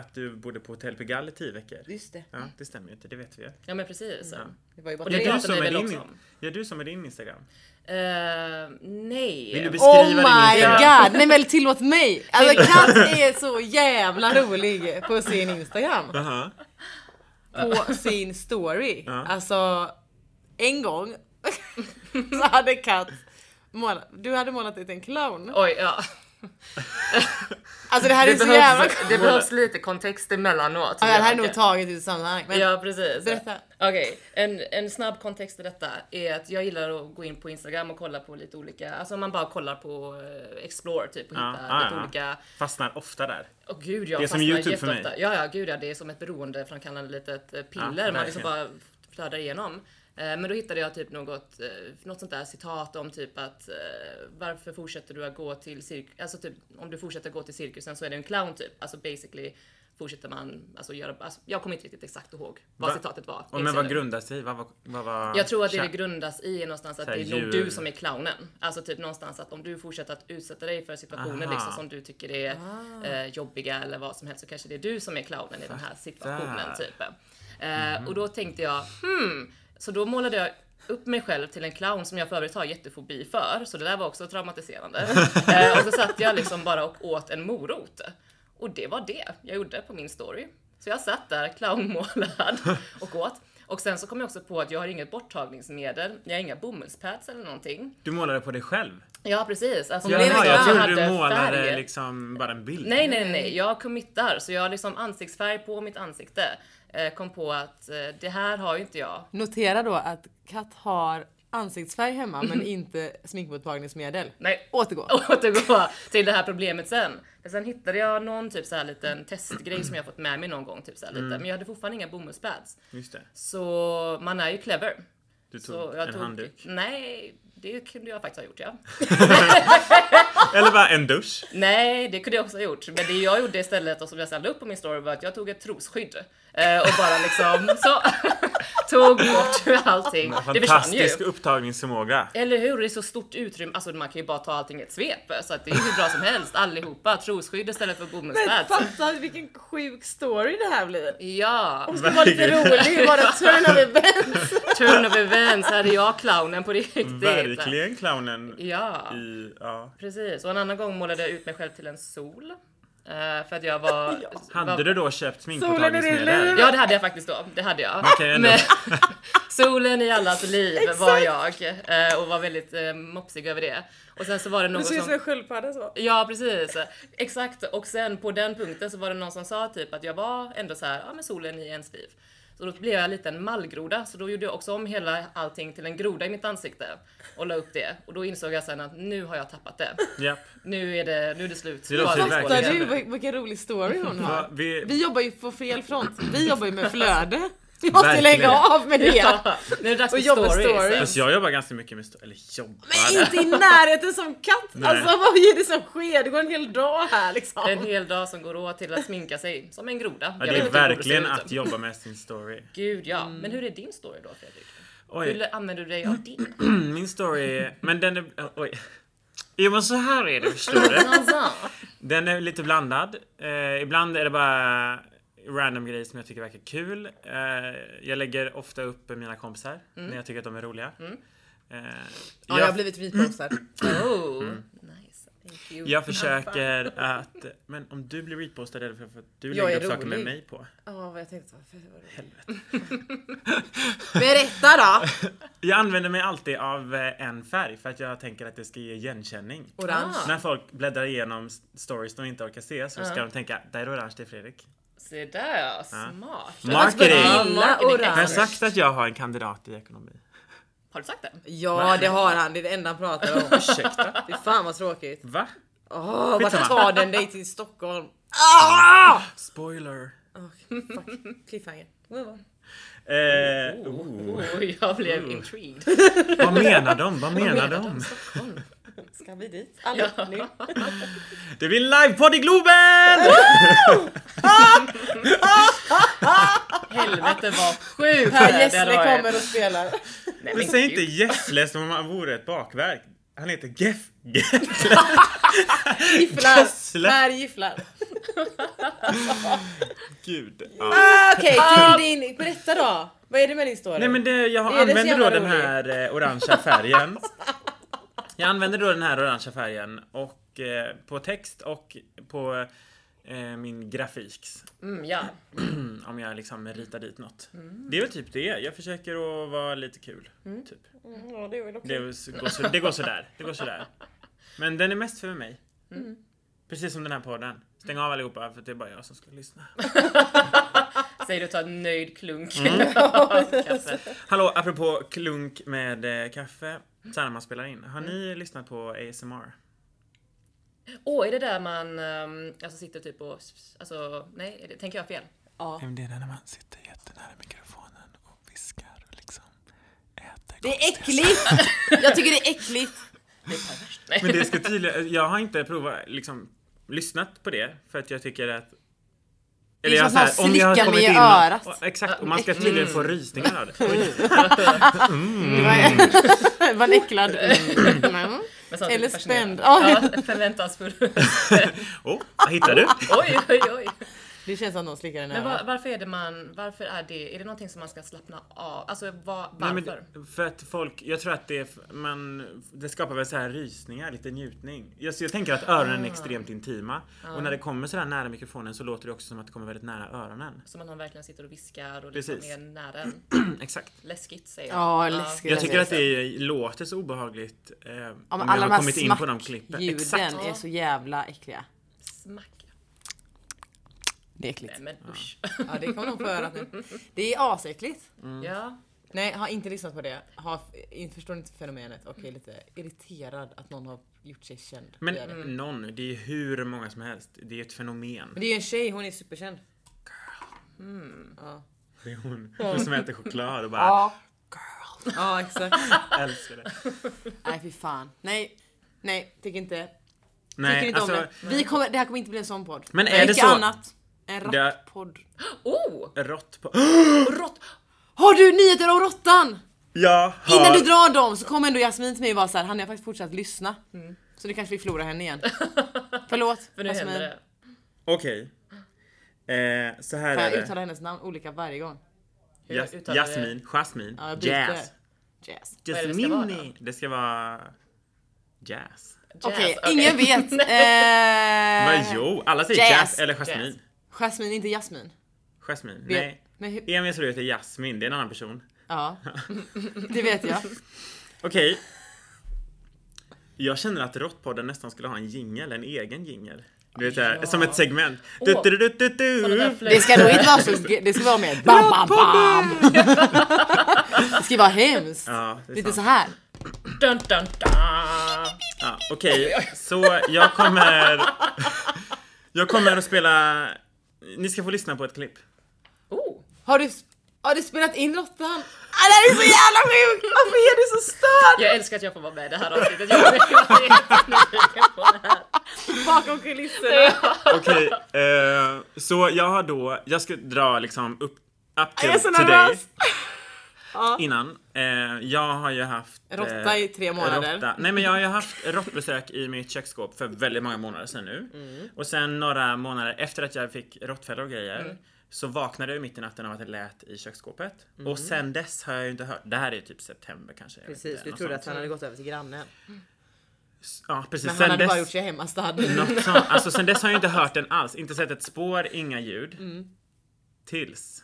Speaker 1: Att du bodde på hotell Pigalle i tio veckor.
Speaker 2: Just det.
Speaker 1: Ja, det stämmer ju inte, det vet vi ju.
Speaker 3: Ja men precis.
Speaker 2: Det var ju bara
Speaker 3: Och det
Speaker 2: tre.
Speaker 1: Du
Speaker 3: pratar
Speaker 1: som
Speaker 3: vi
Speaker 1: är
Speaker 3: väl
Speaker 1: din,
Speaker 3: också om.
Speaker 1: ja, du som är din Instagram.
Speaker 3: Eh, nej.
Speaker 1: Vill du beskriva
Speaker 2: Oh
Speaker 1: din
Speaker 2: my
Speaker 1: Instagram?
Speaker 2: god! Nej men tillåt mig! Alltså
Speaker 1: [laughs]
Speaker 2: Kat är så jävla rolig på sin Instagram.
Speaker 1: Aha.
Speaker 2: På [laughs] sin story.
Speaker 1: Ja.
Speaker 2: Alltså, en gång [laughs] så hade Kat målat, du hade målat ut en clown.
Speaker 3: Oj, [laughs] ja.
Speaker 2: Alltså det här är
Speaker 3: Det,
Speaker 2: så jävla
Speaker 3: behövs, det behövs lite kontext emellanåt.
Speaker 2: Ja, det här är nog
Speaker 3: Bianca.
Speaker 2: taget ur sammanhang. Men
Speaker 3: Ja precis.
Speaker 2: Berätta.
Speaker 3: Okej, en, en snabb kontext i detta är att jag gillar att gå in på Instagram och kolla på lite olika, alltså om man bara kollar på eh, Explore typ och
Speaker 1: Ja,
Speaker 3: hitta
Speaker 1: ja,
Speaker 3: lite
Speaker 1: ja.
Speaker 3: olika
Speaker 1: Fastnar ofta där.
Speaker 3: Åh gud, jag
Speaker 1: Det är som
Speaker 3: fastnar
Speaker 1: YouTube för mig.
Speaker 3: jätteofta. Ja, ja, gud ja, det är som ett beroendeframkallande litet eh, piller. man liksom bara flödar igenom. Eh, Men då hittade jag typ något, eh, något sånt där citat om typ att eh, varför fortsätter du att gå till cirkus? Alltså typ om du fortsätter gå till cirkusen så är det en clown typ. Alltså basically fortsätter man, alltså göra, alltså, jag kommer inte riktigt exakt ihåg vad
Speaker 1: Va?
Speaker 3: citatet var.
Speaker 1: Och
Speaker 3: inser
Speaker 1: men vad
Speaker 3: nu.
Speaker 1: grundar sig vad, vad, vad, vad
Speaker 3: Jag tror att det det
Speaker 1: Tja.
Speaker 3: grundas i är någonstans att
Speaker 1: Så här
Speaker 3: det är nog
Speaker 1: djur.
Speaker 3: du som är clownen. Alltså typ någonstans att om du fortsätter att utsätta dig för situationer
Speaker 1: Aha.
Speaker 3: liksom som du tycker är eh, jobbiga eller vad som helst så kanske det är du som är clownen i den här situationen
Speaker 1: Fattar.
Speaker 3: typ. Eh,
Speaker 1: Mhm.
Speaker 3: Och då tänkte jag, hmm. Så då målade jag upp mig själv till en clown som jag för övrigt har jättefobi för, så det där var också traumatiserande.
Speaker 1: [laughs]
Speaker 3: eh, och så satt jag liksom bara och åt en morot. Och det var det jag gjorde på min story. Så jag satt där
Speaker 1: [laughs]
Speaker 3: clownmålad och åt. Och sen så kom jag också på att jag har inget borttagningsmedel, jag har inga bomullspads eller någonting.
Speaker 1: Du målade på dig själv?
Speaker 3: Ja precis, alltså
Speaker 2: blev
Speaker 1: Jaha, jag
Speaker 2: reklam.
Speaker 1: trodde du
Speaker 3: hade
Speaker 1: målade
Speaker 3: färg.
Speaker 1: liksom bara en bild.
Speaker 3: Nej, nej, nej. Jag committar. Så jag har liksom ansiktsfärg på mitt ansikte. Eh, kom på att eh, det här har ju inte jag.
Speaker 2: Notera då att Kat har ansiktsfärg hemma
Speaker 3: [laughs]
Speaker 2: men inte sminkmottagningsmedel.
Speaker 3: Nej. [laughs] Oh,
Speaker 2: Återgå.
Speaker 3: Återgå till det här problemet sen. Men sen hittade jag någon typ så här liten testgrej som jag fått med mig någon gång. Typ så här lite.
Speaker 1: Mm.
Speaker 3: Men jag hade fortfarande inga bomullspads.
Speaker 1: Just det.
Speaker 3: Så man är ju clever.
Speaker 1: Du tog
Speaker 3: Så
Speaker 1: en handduk.
Speaker 3: Nej, det kunde jag faktiskt ha gjort ja.
Speaker 1: Eller bara en dusch.
Speaker 3: Nej, det kunde jag också ha gjort. Men det jag gjorde istället och som jag sen la upp på min story var att jag tog ett trosskydd eh, och bara liksom så [laughs] tog bort allting. [laughs] Det försvann ju.
Speaker 1: Fantastisk upptagningsförmåga.
Speaker 3: Eller hur? Det är så stort utrymme. Alltså man kan ju bara ta allting i ett svep så att det är hur bra som helst allihopa. Trosskydd istället för
Speaker 2: Men
Speaker 3: bomullspads.
Speaker 2: fatta vilken sjuk story det här blir.
Speaker 3: [laughs] Ja,
Speaker 2: Det var lite rolig, bara turn
Speaker 3: [laughs]
Speaker 2: of events.
Speaker 3: turn of events. Här är jag clownen på riktigt.
Speaker 1: Verkligen clownen
Speaker 3: Ja.
Speaker 1: i... Ja.
Speaker 3: Precis, och en annan gång målade jag ut mig själv till en sol. eh, För att jag var... var
Speaker 1: Hade du då köpt
Speaker 2: Solen är din
Speaker 1: sminkmottagningsmedel?
Speaker 2: liv.
Speaker 3: Ja det hade jag faktiskt då, det hade jag.
Speaker 1: Okej,
Speaker 3: [laughs]
Speaker 1: ändå.
Speaker 3: Men, solen i allas liv var jag eh, och var väldigt eh, mopsig över det. Och sen så var det
Speaker 2: Du
Speaker 3: någon
Speaker 2: ser ut som
Speaker 3: som...
Speaker 2: en sköldpadda så.
Speaker 3: Ja precis, exakt. Och sen på den punkten så var det någon som sa typ att jag var ändå så här, ja men solen i ens liv. Så då blev jag lite en mallgroda, så då gjorde jag också om hela allting till en groda i mitt ansikte och la upp det. Och då insåg jag sen att nu har jag tappat det.
Speaker 1: Japp.
Speaker 3: Nu är det, nu är det slut.
Speaker 1: Det låter
Speaker 3: Bara
Speaker 1: ju
Speaker 3: skål
Speaker 1: verkligen-
Speaker 2: Fattar
Speaker 3: igen.
Speaker 2: du vil- vilken rolig story hon
Speaker 1: Va,
Speaker 2: har?
Speaker 1: vi,
Speaker 2: Vi jobbar ju på fel front. Vi jobbar ju med flöde. Vi måste
Speaker 1: Verkligen.
Speaker 2: lägga av med det.
Speaker 3: [laughs] Ja, nu är det dags
Speaker 2: Och
Speaker 3: för
Speaker 2: jobba
Speaker 3: stories.
Speaker 2: stories.
Speaker 1: Alltså jag jobbar ganska mycket med... sto- Eller jobbar...
Speaker 2: Men inte i närheten som katt.
Speaker 1: Nej.
Speaker 2: Alltså vad är det som sker? Det går en hel dag här
Speaker 3: En
Speaker 2: liksom.
Speaker 3: hel dag som går åt till att sminka sig som en groda.
Speaker 1: Ja,
Speaker 3: Jag
Speaker 1: det
Speaker 3: vet
Speaker 1: är
Speaker 3: inte hur ser
Speaker 1: verkligen
Speaker 3: ut.
Speaker 2: typ.
Speaker 1: att jobba med sin story.
Speaker 3: Gud ja.
Speaker 2: Mm.
Speaker 3: Men hur är din story då Fredrik?
Speaker 1: Oj,
Speaker 3: Hur använder du dig av
Speaker 2: [laughs]
Speaker 1: [clears throat]
Speaker 3: din?
Speaker 1: min story... Men den är... Oj. Jo men så här är det förstår du.
Speaker 3: Alltså,
Speaker 1: Den är lite blandad. Eh, ibland är det bara random grejer som jag tycker verkar kul. Eh, jag lägger ofta upp mina kompisar
Speaker 2: Mm.
Speaker 1: när jag tycker att de är roliga. Eh, Mm.
Speaker 2: Ja, jag har blivit vitboxad.
Speaker 3: oh, nice. Jo.
Speaker 2: [laughs]
Speaker 1: Jag försöker att... Men om du blir repostad är det för att du
Speaker 2: Jag
Speaker 1: lägger
Speaker 2: är
Speaker 1: upp saker med
Speaker 2: rolig.
Speaker 1: mig på.
Speaker 2: Ja, vad jag tänkte. Varför var det [laughs] Berätta då!
Speaker 1: Jag använder mig alltid av eh, en färg för att jag tänker att det ska ge igenkänning.
Speaker 2: Orange.
Speaker 3: Ah.
Speaker 1: När folk bläddrar igenom s- stories de inte orkar se så ska de tänka där är orange, det är Fredrik.
Speaker 3: Se där ja, smart.
Speaker 1: Marketing.
Speaker 3: Ja,
Speaker 2: Gilla
Speaker 3: marketing.
Speaker 2: Alltså, orange.
Speaker 1: Har jag sagt att jag har en kandidat i ekonomi?
Speaker 3: Har du
Speaker 2: [laughs]
Speaker 3: sagt det?
Speaker 2: Ja, det har han. Det är det enda han pratar
Speaker 3: [laughs]
Speaker 2: om. Ursäkta? Det är fan vad tråkigt.
Speaker 1: Va?
Speaker 2: Åh, vart
Speaker 1: Skitsamma.
Speaker 2: tar den dig till Stockholm? Ah!
Speaker 1: Spoiler.
Speaker 2: Okej,
Speaker 3: [laughs]
Speaker 2: fuck. Cliffhanger.
Speaker 1: Eh, oh.
Speaker 3: Oh, jag blev intrigued.
Speaker 1: Vad menar de? Vad menar de?
Speaker 3: Stockholm?
Speaker 2: Ska vi dit? Alla
Speaker 3: Ja.
Speaker 2: nu?
Speaker 1: Det blir livepodd i Globen!
Speaker 3: Helvete vad sjukt
Speaker 2: Per
Speaker 3: väder
Speaker 2: Gessle
Speaker 3: det har
Speaker 2: kommer
Speaker 3: varit.
Speaker 2: och spelar.
Speaker 3: Nej,
Speaker 1: Du
Speaker 3: men
Speaker 1: säger
Speaker 3: gud.
Speaker 1: inte Gessle som om han vore ett bakverk. Han heter Geff... Gessle.
Speaker 2: Gifflar.
Speaker 1: Gessle.
Speaker 2: Per gifflar.
Speaker 1: Gud. Ja.
Speaker 2: Ah, Okej, till din... Berätta då. Vad är det med din story?
Speaker 1: Nej men det, jag
Speaker 2: Är det så
Speaker 1: använder då
Speaker 2: jävla
Speaker 1: den
Speaker 2: roligt? Alltså.
Speaker 1: här eh, orangea
Speaker 2: [laughs]
Speaker 1: färgen. Jag använder då den här orangea färgen och eh, på text och på eh, min grafik.
Speaker 3: Mm, ja.
Speaker 1: [clears throat] Om jag liksom ritar dit något. Det är väl typ det. Jag försöker att vara lite kul. Typ.
Speaker 2: Mm, ja, det är väl okej.
Speaker 1: Det, är väl så- går så, det går sådär. Det går sådär. Men den är mest för mig.
Speaker 2: Mm.
Speaker 1: Mm. Precis som den här podden. Stäng av allihopa för det är bara jag som ska lyssna.
Speaker 3: Säger du ta en nöjd klunk
Speaker 1: Mm.
Speaker 3: [laughs] av kaffe.
Speaker 1: Hallå, apropå klunk med eh, kaffe. Så här när man spelar in. Har
Speaker 2: Mm.
Speaker 1: ni lyssnat på ASMR?
Speaker 3: Åh, är det där man ehm, alltså, sitter typ och... Alltså, nej, är det, tänker jag fel?
Speaker 2: Ja.
Speaker 1: Det är när man sitter jättenära mikrofonen och viskar och liksom äter.
Speaker 2: Det är äckligt! [laughs] Jag tycker det är äckligt.
Speaker 3: Nej.
Speaker 1: Men det ska tydligen, jag har inte provat, liksom lyssnat på det för att jag tycker att
Speaker 2: är som
Speaker 1: så här,
Speaker 2: att slicka mig i
Speaker 1: och-
Speaker 2: örat. Mm.
Speaker 1: och- Exakt, och man ska tydligen få rysningar av det. Oj. Mm.
Speaker 2: [laughs] Var äcklad.
Speaker 3: [laughs]
Speaker 2: Mm.
Speaker 3: Men sånt är
Speaker 2: Eller
Speaker 3: lite fascinerande.
Speaker 2: spänd. Ja,
Speaker 3: Ja, förväntansfull.
Speaker 1: Oh, vad hittar du?
Speaker 3: oj, oj, oj.
Speaker 2: det känns som någon slickar den i [laughs]
Speaker 3: Men var,
Speaker 2: örat.
Speaker 3: varför är det man... Varför är det... Är det någonting som man ska slappna av? Alltså, var,
Speaker 1: Nej,
Speaker 3: varför?
Speaker 1: men, det- för att folk, jag tror att det, är f- man, det skapar väl så här rysningar, lite njutning. Jag, så jag tänker att öronen
Speaker 2: Ah.
Speaker 1: är extremt intima. Och när det kommer så där nära mikrofonen så låter det också som att det kommer väldigt nära
Speaker 2: [clears throat]
Speaker 1: öronen.
Speaker 3: Så man verkligen sitter och viskar och liksom
Speaker 1: Precis.
Speaker 3: är nära en.
Speaker 1: Exakt.
Speaker 3: Läskigt säger
Speaker 2: Ja, läskigt.
Speaker 1: Jag tycker att det låter så obehagligt eh, om jag
Speaker 2: alla de
Speaker 1: har
Speaker 2: här
Speaker 1: kommit in på de klippen. Exakt.
Speaker 2: Ljuden är så jävla äckliga.
Speaker 3: Smack.
Speaker 2: Det är äckligt.
Speaker 3: Nej,
Speaker 2: [laughs]
Speaker 3: men usch.
Speaker 2: Ja, det kommer nog få örat nu. Det är asäckligt.
Speaker 3: [laughs] Ja.
Speaker 2: Nej, har inte lyssnat på det. Har, förstår inte fenomenet och är lite irriterad att någon har gjort sig känd.
Speaker 1: Men
Speaker 2: via det.
Speaker 1: någon, det är hur många som helst. Det är ett fenomen.
Speaker 2: Men det är ju en tjej, hon är superkänd. Ja.
Speaker 1: Det är hon, hon som äter choklad och bara
Speaker 2: Ja. Girl. Ja, exakt.
Speaker 1: älskar det.
Speaker 2: Nej, fy fan. Nej, nej, tycker inte. tycker
Speaker 1: Nej,
Speaker 2: inte
Speaker 1: alltså
Speaker 2: om det. Vi kommer, det här kommer inte bli en sån podd.
Speaker 1: Men är det
Speaker 2: Mycket
Speaker 1: så-
Speaker 2: annat. En
Speaker 1: Det-
Speaker 2: rappodd.
Speaker 3: Oh!
Speaker 1: rått på... [gasps]
Speaker 3: Rått!
Speaker 2: Har du nyheter om råttan?
Speaker 1: Jag har...
Speaker 2: Innan du drar dem så kom ändå Jasmin till mig och bara såhär, han har faktiskt fortsatt lyssna. Så nu kanske vi förlorar henne
Speaker 3: [laughs]
Speaker 2: igen. Förlåt
Speaker 3: Mm. För nu
Speaker 2: Jasmin.
Speaker 3: händer det.
Speaker 1: Okej. Eh, så här
Speaker 2: Kan jag
Speaker 1: är det.
Speaker 2: uttala hennes namn olika varje gång?
Speaker 3: Hur
Speaker 1: Jas-
Speaker 3: uttalar vi det?
Speaker 1: Jasmin, Jasmin,
Speaker 2: Ja, jag byter.
Speaker 1: jazz.
Speaker 2: Jazz.
Speaker 3: Vad är det det ska vara
Speaker 1: Jasmini. Det ska vara... Jazz.
Speaker 3: Jazz,
Speaker 2: Okej,
Speaker 3: okej.
Speaker 2: ingen
Speaker 3: [laughs]
Speaker 2: vet. eh,
Speaker 1: Men jo, alla säger
Speaker 2: jazz.
Speaker 1: jazz, eller Jasmin.
Speaker 3: Jazz.
Speaker 2: Jasmin, inte Jasmin.
Speaker 1: Jasmin,
Speaker 2: Vet-
Speaker 1: nej.
Speaker 2: Men hur,
Speaker 1: Emil ser ut är Jasmin, det är en annan person.
Speaker 2: ja. [laughs] Det vet jag.
Speaker 1: Okej. Jag känner att Råttpodden nästan skulle ha en jingel, en egen jingel. Du vet såhär, som ett segment. Du,
Speaker 3: Åh,
Speaker 1: du, du, du, du.
Speaker 3: Sådana där
Speaker 2: Det
Speaker 3: flöjt-
Speaker 2: ska nog inte vara så, det ska vara mer bam bam bam. Det ska vara hemskt.
Speaker 1: Ja, det är
Speaker 2: Lite
Speaker 1: sant.
Speaker 2: så här.
Speaker 3: Dun, dun, dun.
Speaker 1: Ja, Okej, så jag
Speaker 2: [laughs]
Speaker 1: kommer... Jag kommer att spela... Ni ska få lyssna på ett klipp.
Speaker 3: Oh!
Speaker 2: Har du, har du spelat in Lottan? Ah, det här är så jävla sjukt! Varför är du så störd?
Speaker 3: Jag älskar att jag får vara med i det här avsnittet. Jag är jättenyfiken på det här.
Speaker 2: Bakom kulisserna.
Speaker 1: Okej, eh, så jag har då... Jag ska dra liksom upp... Up till,
Speaker 2: Jag är så
Speaker 1: till dig
Speaker 2: nervös. Ja.
Speaker 1: innan. Eh, jag har ju haft... eh,
Speaker 2: Råtta i tre månader.
Speaker 1: Råtta. Nej men jag har ju haft råttbesök i mitt köksskåp för väldigt många månader sedan nu.
Speaker 2: Mm.
Speaker 1: Och sen några månader efter att jag fick råttfällor och grejer
Speaker 2: Mm.
Speaker 1: så vaknade jag mitt i natten av att det lät i köksskåpet.
Speaker 2: Mm.
Speaker 1: Och sen dess har jag ju inte hört. Det här är typ september kanske. jag vet inte, något sånt.
Speaker 2: gått över till grannen.
Speaker 1: S- Ja, precis.
Speaker 2: Men han
Speaker 1: Sen
Speaker 2: hade bara gjort
Speaker 1: dess,
Speaker 2: sig hemmastad.
Speaker 1: något sånt. Alltså, sen dess har jag inte hört den alls. Inte sett ett spår, inga ljud.
Speaker 2: Mm.
Speaker 1: Tills.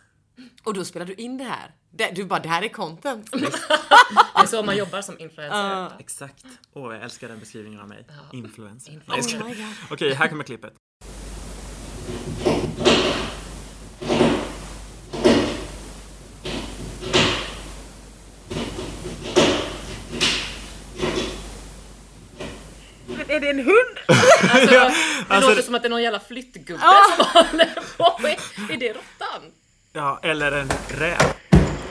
Speaker 2: Och då spelar du in det här. Det- Du bara, det här är content.
Speaker 3: Det är så man jobbar som influencer.
Speaker 1: Exakt. Åh, jag älskar den beskrivningen av mig. Influencer.
Speaker 3: Influencer.
Speaker 1: Nej, jag skojar.
Speaker 2: Oh my God.
Speaker 1: Okej, här kommer klippet.
Speaker 2: Är det en hund?
Speaker 3: Alltså, det
Speaker 1: Alltså-
Speaker 3: låter som att det är någon jävla flyttgubbe
Speaker 2: Ah!
Speaker 3: [laughs] som håller på. Är- Är det råttan?
Speaker 1: Ja, eller en räv.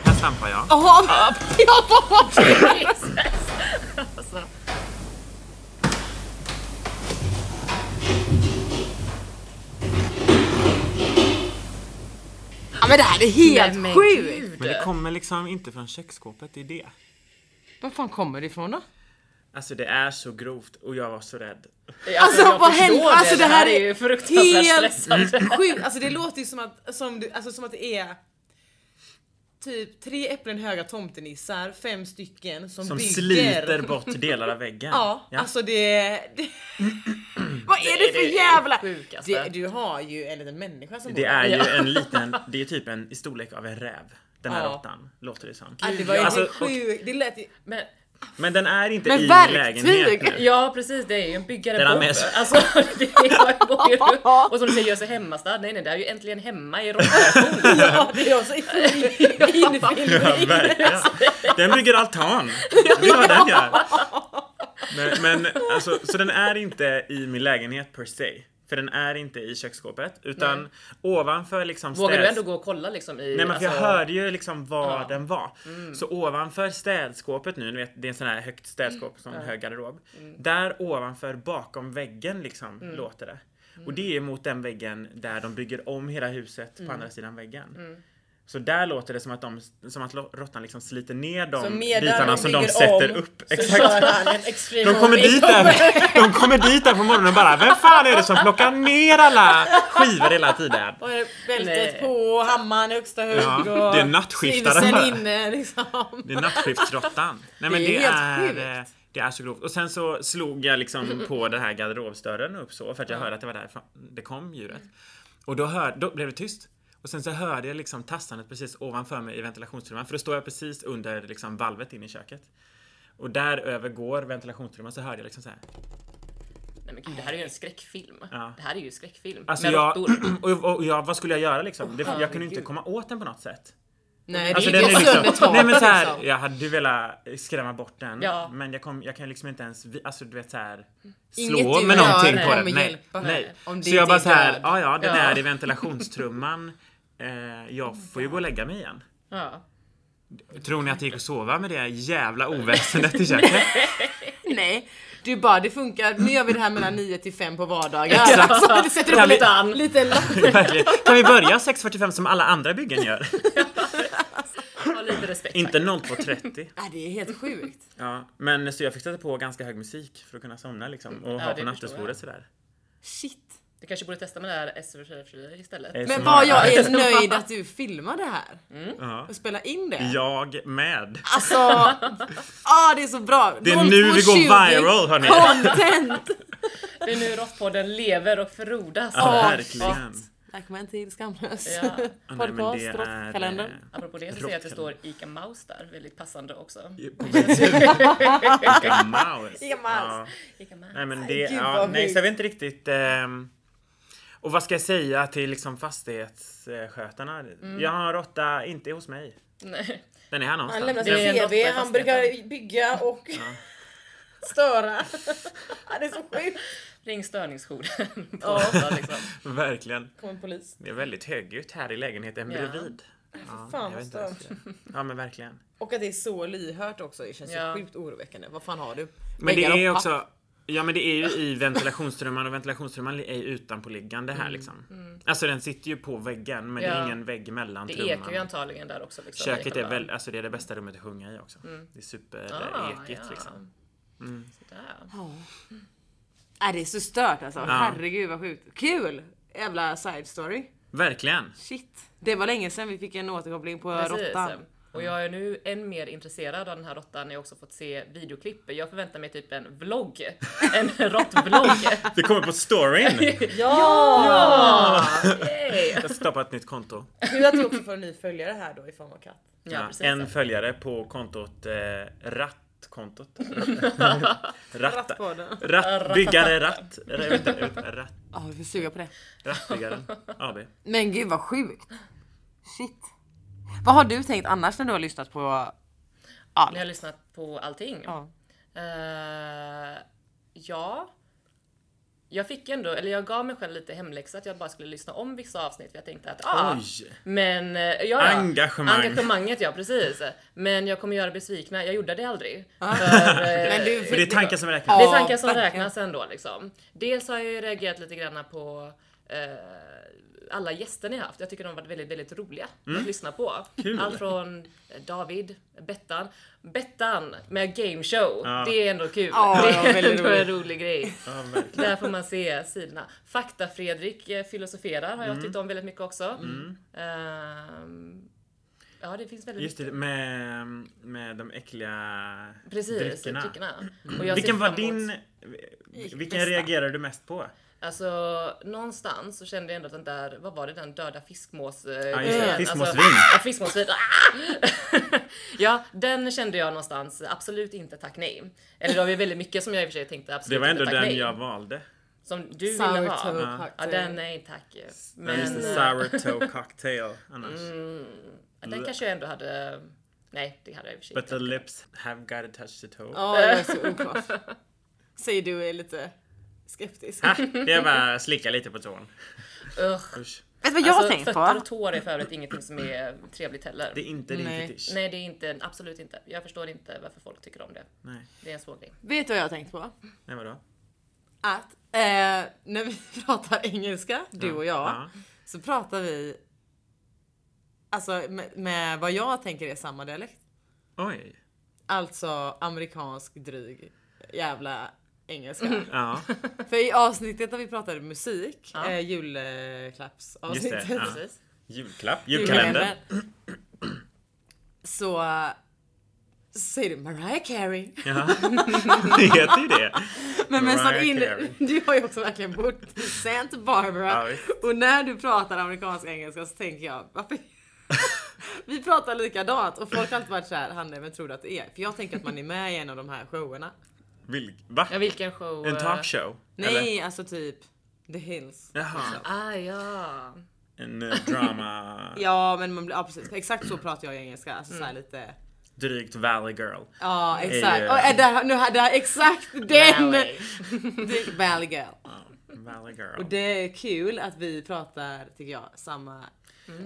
Speaker 1: Här stampar jag.
Speaker 2: Oh, jag bara...
Speaker 3: Jesus! Alltså,
Speaker 2: Ja, men det här är helt
Speaker 3: nej, men
Speaker 2: sjukt!
Speaker 3: gud.
Speaker 1: Men det kommer liksom inte från köksskåpet, det är det.
Speaker 2: Var fan kommer det ifrån då?
Speaker 1: Alltså det är så grovt och jag var så rädd.
Speaker 2: Alltså,
Speaker 3: jag
Speaker 2: vad
Speaker 3: förstår
Speaker 2: händer?
Speaker 3: Det.
Speaker 2: Alltså,
Speaker 3: det här är ju fruktansvärt
Speaker 2: helt
Speaker 3: stressande.
Speaker 2: Sjukt! Alltså det låter ju som att, som, du, alltså, som att det är typ tre äpplen höga tomtenissar, fem stycken som,
Speaker 1: Som
Speaker 2: bygger.
Speaker 1: sliter bort delar av väggen.
Speaker 2: Ja, alltså det... det
Speaker 1: [clears throat]
Speaker 2: vad är det,
Speaker 3: är
Speaker 2: för
Speaker 3: det
Speaker 2: jävla...
Speaker 3: sjukaste.
Speaker 2: Det, du har ju en liten människa som
Speaker 1: Det
Speaker 2: bor
Speaker 1: är ju
Speaker 3: Ja.
Speaker 1: en liten, det är typ en i storlek av en räv. Den här
Speaker 2: Ja.
Speaker 1: råttan, låter det som.
Speaker 2: där. Det var ju
Speaker 1: Alltså,
Speaker 2: helt sjukt,
Speaker 1: [clears throat]
Speaker 2: det lät ju...
Speaker 3: Men,
Speaker 1: Men den är inte
Speaker 2: Men
Speaker 1: i min
Speaker 2: verktyg!
Speaker 1: lägenhet
Speaker 3: [laughs]
Speaker 1: nu.
Speaker 3: ja precis, det är ju en byggare
Speaker 1: Den har
Speaker 3: Bob.
Speaker 1: med sig-
Speaker 3: Alltså, det är, går ju runt. Och som du säger, gör sig hemmastad. Nej nej, det här är ju äntligen hemma i råttan.
Speaker 2: Ja, det är också i full
Speaker 1: Ja,
Speaker 2: infilmning.
Speaker 1: verkligen. Den bygger altan. Det är vad den
Speaker 3: [laughs]
Speaker 1: gör. Men, men alltså, så den är inte i min lägenhet per se. För den är inte i köksskåpet utan ovanför liksom
Speaker 3: Vågar du
Speaker 1: städs-
Speaker 3: ändå gå och kolla liksom i...
Speaker 1: Nej men för jag
Speaker 3: alltså-
Speaker 1: hörde ju liksom var
Speaker 3: Ja.
Speaker 1: den var.
Speaker 2: Mm.
Speaker 1: Så ovanför städskåpet nu, ni vet det är en sån här högt
Speaker 2: Mm.
Speaker 1: städskåp som en hög garderob. Där ovanför bakom väggen liksom
Speaker 2: Mm.
Speaker 1: låter det. Och det är mot den väggen där de bygger om hela huset
Speaker 2: Mm.
Speaker 1: på andra sidan väggen. Så där låter det som att, de, som att lo- råttan liksom sliter ner
Speaker 2: Så
Speaker 1: de
Speaker 2: medan
Speaker 1: bitarna
Speaker 2: de
Speaker 1: som de
Speaker 2: bygger
Speaker 1: sätter
Speaker 2: om,
Speaker 1: upp.
Speaker 2: så
Speaker 1: Exakt.
Speaker 2: kör han en extrem
Speaker 1: De kommer,
Speaker 2: home
Speaker 1: dit där, de kommer dit där på morgonen och bara Vem fan är det som plockar ner alla skivor hela tiden?
Speaker 2: Och det är Bältet
Speaker 3: Nej.
Speaker 2: på, hammaren i högsta hugg
Speaker 1: Ja,
Speaker 2: och
Speaker 1: det är nattskiftaren
Speaker 2: slipsen
Speaker 1: bara.
Speaker 2: inne liksom.
Speaker 1: Det är nattskiftsråttan. Nej men
Speaker 2: Det
Speaker 1: det,
Speaker 2: är helt
Speaker 1: är,
Speaker 2: sjukt.
Speaker 1: eh, det är så grovt. Och sen så slog jag liksom på den här garderobsdörren upp så för att jag hörde att det var därifrån det kom djuret. Och då, hör, då blev det tyst. Och sen så hörde jag liksom tassandet precis ovanför mig i ventilationstrumman för då står jag precis under liksom valvet in i köket. Och där över går ventilationstrumman så hörde jag liksom så här.
Speaker 3: Nej men gud, det här är ju en skräckfilm.
Speaker 1: Ja.
Speaker 3: Det här är ju skräckfilm.
Speaker 1: Alltså
Speaker 3: Med
Speaker 1: jag,
Speaker 3: råttor.
Speaker 1: [clears throat] och, och jag, vad skulle jag göra liksom? Det, jag kunde ju inte
Speaker 3: herregud.
Speaker 1: komma åt den på något sätt.
Speaker 2: Nej
Speaker 1: Alltså
Speaker 2: det
Speaker 1: den
Speaker 2: gick
Speaker 1: är
Speaker 2: ju sönder
Speaker 1: liksom,
Speaker 2: taket
Speaker 1: nej men så här,
Speaker 2: liksom.
Speaker 1: jag hade ju velat skrämma bort den
Speaker 3: Ja.
Speaker 1: men jag, kom, jag kan ju liksom inte ens, vi- alltså du vet så här
Speaker 2: Inget
Speaker 1: slå
Speaker 2: du
Speaker 1: med
Speaker 2: gör
Speaker 1: någonting på
Speaker 2: kommer
Speaker 1: den. Nej,
Speaker 2: hjälpa.
Speaker 1: nej.
Speaker 2: Om det
Speaker 1: Så jag
Speaker 2: inte
Speaker 1: bara
Speaker 2: är
Speaker 1: så här,
Speaker 2: död.
Speaker 1: ja ja den
Speaker 3: Ja.
Speaker 1: är i ventilationstrumman. Eh, jag får ju gå och lägga mig igen.
Speaker 3: Ja.
Speaker 1: Tror ni att jag gick och sova med det jävla oväsendet i
Speaker 2: [laughs]
Speaker 1: köket?
Speaker 2: Nej, du bara det funkar, nu gör vi det här mellan 9 till 5 på vardagar.
Speaker 1: Exakt.
Speaker 2: [laughs] Så du sätter
Speaker 1: Kan
Speaker 2: upp
Speaker 1: vi-
Speaker 2: lite, lite lapp.
Speaker 1: Verkligen. Kan vi börja 6.45 som alla andra byggen gör?
Speaker 3: Ha lite respekt.
Speaker 1: inte 02.30.
Speaker 2: Ja, det är helt sjukt.
Speaker 1: Ja, men så jag fick sätta på ganska hög musik för att kunna somna liksom och ha
Speaker 3: det
Speaker 1: på
Speaker 3: förstår
Speaker 1: nattduksbordet sådär.
Speaker 2: Shit.
Speaker 3: Du kanske borde testa med det här SVT istället.
Speaker 1: Eh,
Speaker 2: Men
Speaker 1: som
Speaker 2: vad
Speaker 1: har- [laughs]
Speaker 2: jag är nöjd att du filmar det här
Speaker 1: Mm. Ja.
Speaker 2: och spelar in det.
Speaker 1: Jag med. [laughs]
Speaker 2: Alltså, ah, det är så bra.
Speaker 1: Det är nu vi går
Speaker 2: 0220
Speaker 1: viral, hörni.
Speaker 2: Content!
Speaker 3: Det är nu Rottpodden lever och frodas.
Speaker 1: Ja, verkligen.
Speaker 2: Välkommen till Skamlös
Speaker 3: Ja.
Speaker 1: Ja, nej, men det
Speaker 2: [laughs] podcast,
Speaker 1: är,
Speaker 2: Rottkalendern.
Speaker 1: eh,
Speaker 3: Apropå det så ser jag att det står Ica Maus där, väldigt passande också.
Speaker 1: på väggen. Ica Maus.
Speaker 2: Ica Maus.
Speaker 3: Ica Maus.
Speaker 1: Nej men det,
Speaker 2: Gud,
Speaker 1: ja,
Speaker 2: vad
Speaker 1: nej
Speaker 2: sjukt.
Speaker 1: så jag vet inte riktigt. ehm, och vad ska jag säga till liksom fastighetsskötarna? Jag har en råtta, inte hos mig.
Speaker 3: [laughs] Nej.
Speaker 1: Den är här
Speaker 2: Han
Speaker 1: någonstans.
Speaker 2: lämnar
Speaker 3: Det är
Speaker 2: sin
Speaker 3: en dotter i
Speaker 2: CV, han brukar
Speaker 3: fastigheten.
Speaker 2: bygga och [laughs] störa. [laughs] Han är så sjuk.
Speaker 3: Ring [laughs] störningsjouren.
Speaker 2: Ja.
Speaker 3: Ja. liksom.
Speaker 1: Verkligen.
Speaker 2: Kommer polis.
Speaker 1: Det är väldigt högljutt här i lägenheten
Speaker 3: Ja.
Speaker 1: bredvid. Ja, jag
Speaker 2: fan, vad
Speaker 1: vet inte vad jag ska göra. Ja men verkligen.
Speaker 2: Och att det är så lyhört också, det känns
Speaker 3: Ja.
Speaker 2: ju sjukt oroväckande. Vad fan har du?
Speaker 1: Men det
Speaker 2: Väggar
Speaker 1: är
Speaker 2: och papp.
Speaker 1: också Ja men det är ju i ventilationstrumman och ventilationstrumman är ju utanpåliggande här liksom. Alltså den sitter ju på väggen men det är
Speaker 3: Mm. Ja.
Speaker 1: ingen vägg mellan
Speaker 3: Det
Speaker 1: trumman.
Speaker 3: ekar ju antagligen där också. Liksom, i
Speaker 1: Köket är
Speaker 3: själva-
Speaker 1: väl, alltså det är det bästa rummet att sjunga i också. Det är
Speaker 3: Ah,
Speaker 1: superekigt
Speaker 3: ja.
Speaker 1: liksom.
Speaker 3: Sådär.
Speaker 2: Ja. Äh, det är så stört alltså. Herregud vad sjukt. Kul! Jävla side story.
Speaker 1: Verkligen.
Speaker 2: Shit. Det var länge sedan vi fick en återkoppling på [laughs]
Speaker 3: Precis.
Speaker 2: råttan.
Speaker 3: Och jag är nu än mer intresserad av den här råttan när jag också fått se videoklipp. Jag förväntar mig typ en vlogg. En [laughs] råttvlogg.
Speaker 1: Det kommer på
Speaker 3: [laughs]
Speaker 1: storyn!
Speaker 3: Ja! Yay!
Speaker 1: Jag stoppar ett nytt konto.
Speaker 2: Kul att vi också får en ny följare här då i form av katt.
Speaker 3: Ja, precis.
Speaker 1: en följare på kontot eh, Rattkontot.
Speaker 3: [laughs]
Speaker 1: Ratta.
Speaker 2: Rattpodden.
Speaker 1: Ratt, byggare Ratt. Eller, vänta, vänta, Ratt.
Speaker 2: Ja, vi får suga på det.
Speaker 3: [laughs]
Speaker 1: Rattbyggaren AB.
Speaker 2: Men gud vad sjukt. Shit. Vad har du tänkt annars när du har lyssnat på
Speaker 3: Ni har lyssnat på allting.
Speaker 2: Ja.
Speaker 3: Eh, ja. Jag fick ändå, eller jag gav mig själv lite hemläxa att jag bara skulle lyssna om vissa avsnitt för jag tänkte att ah,
Speaker 1: Oj!
Speaker 3: men eh, ja, ja.
Speaker 1: Engagemang.
Speaker 3: Engagemanget ja, precis. Men jag kommer göra er besvikna, jag gjorde det aldrig. För, eh,
Speaker 2: Men du-
Speaker 1: För det är tankar som räknas.
Speaker 3: det
Speaker 2: Ja,
Speaker 3: är tankar som
Speaker 2: verkligen.
Speaker 3: räknas ändå liksom. Dels har jag ju reagerat lite grann på eh, alla gäster ni har haft. Jag tycker de har varit väldigt, väldigt roliga att lyssna på. Allt från eh, David, Bettan. Bettan med game show.
Speaker 1: Ja.
Speaker 3: Det är ändå kul.
Speaker 2: Ja,
Speaker 3: det
Speaker 2: ja,
Speaker 3: är
Speaker 2: väldigt
Speaker 3: ändå en rolig grej.
Speaker 1: Ja, verkligen.
Speaker 3: Där får man se sidorna. Fakta-Fredrik eh, filosoferar har jag tyckt om väldigt mycket också. Ehm, ja, det finns väldigt
Speaker 1: Just det, med, med de äckliga
Speaker 3: mycket. Precis,
Speaker 1: dryckerna.
Speaker 3: dryckerna. Och jag ser
Speaker 1: Vilken var
Speaker 3: fram emot-
Speaker 1: din... Vilken
Speaker 2: bästa.
Speaker 1: reagerade du mest på?
Speaker 3: Alltså någonstans så kände jag ändå att den där, vad var det den döda fiskmås... eh,
Speaker 1: Ja, just det.
Speaker 3: grejen?
Speaker 1: Fiskmåsvin.
Speaker 3: Alltså, ja, fiskmåsvin. Ah! [laughs] ja, den kände jag någonstans, absolut inte tack nej. Eller det var ju väldigt mycket som jag i och för sig tänkte absolut
Speaker 1: Det var ändå
Speaker 3: inte tack
Speaker 1: den
Speaker 3: nej.
Speaker 1: jag valde.
Speaker 3: Som du ville
Speaker 2: Sour
Speaker 3: ha.
Speaker 2: Toe
Speaker 3: Ja,
Speaker 2: Cocktail?
Speaker 3: den nej tack. Men Mm,
Speaker 1: Men... Sour toe cocktail annars.
Speaker 3: ja, den kanske jag ändå hade... Nej, det hade jag i och för sig
Speaker 1: But
Speaker 3: inte.
Speaker 1: the lips have got to touch the toe.
Speaker 2: Ja, det var så oklart. [laughs] Säger du och är lite skeptisk.
Speaker 1: Ah,
Speaker 2: Vet
Speaker 1: det är bara att slicka lite på tån.
Speaker 3: Ugh.
Speaker 1: Usch.
Speaker 2: du vad jag har
Speaker 3: Alltså,
Speaker 2: tänkt
Speaker 3: fötter
Speaker 2: på?
Speaker 3: och tår är för övrigt ingenting som är trevligt heller.
Speaker 1: Det är inte din
Speaker 2: Nej.
Speaker 1: fetisch.
Speaker 3: Nej, det är inte, absolut inte. Jag förstår inte varför folk tycker om det.
Speaker 1: Nej.
Speaker 3: Det är en svår grej.
Speaker 2: Vet du vad jag har tänkt på?
Speaker 1: Nej, vadå?
Speaker 2: Att eh, när vi [laughs] pratar engelska, du och jag,
Speaker 1: Ja.
Speaker 2: så pratar vi alltså med, med vad jag tänker är samma dialekt.
Speaker 1: Oj.
Speaker 2: Alltså amerikansk dryg jävla engelska.
Speaker 1: Ja,
Speaker 2: För i avsnittet där vi pratade musik,
Speaker 3: Ja.
Speaker 2: eh, julklappsavsnittet.
Speaker 1: Just det, ja.
Speaker 3: Precis. [laughs]
Speaker 1: julklapp. Julkalender.
Speaker 2: Så, så säger du Mariah
Speaker 1: [laughs]
Speaker 2: Carey.
Speaker 1: Ja. Det heter ju det.
Speaker 2: Men men så
Speaker 1: Mariah
Speaker 2: in,
Speaker 1: Carey.
Speaker 2: [laughs] du har ju också verkligen bott i Santa
Speaker 1: Ja,
Speaker 2: Barbara.
Speaker 1: visst.
Speaker 2: [laughs] och när du pratar amerikansk engelska så tänker jag varför? [laughs] Vi pratar likadant och folk har alltid varit såhär, Hanne vem tror du att det är? För jag tänker att man är med i en av de här showerna.
Speaker 1: Vil- Va?
Speaker 3: Ja, vilken show?
Speaker 1: En
Speaker 3: eh,
Speaker 1: talkshow? Eller?
Speaker 2: Nej, alltså typ The Hills.
Speaker 1: Jaha.
Speaker 3: Ah, ja.
Speaker 1: En eh, drama... [laughs]
Speaker 2: Ja men man blir, ja precis, exakt så pratar jag i engelska. Alltså såhär lite
Speaker 1: Drygt Valley Girl.
Speaker 2: Ja exakt,
Speaker 1: eh,
Speaker 2: och, äh, där, nu, har- där, exakt den!
Speaker 3: Valley.
Speaker 2: Det- Valley Girl.
Speaker 1: Valley Girl.
Speaker 2: Och det är kul att vi pratar, tycker jag, samma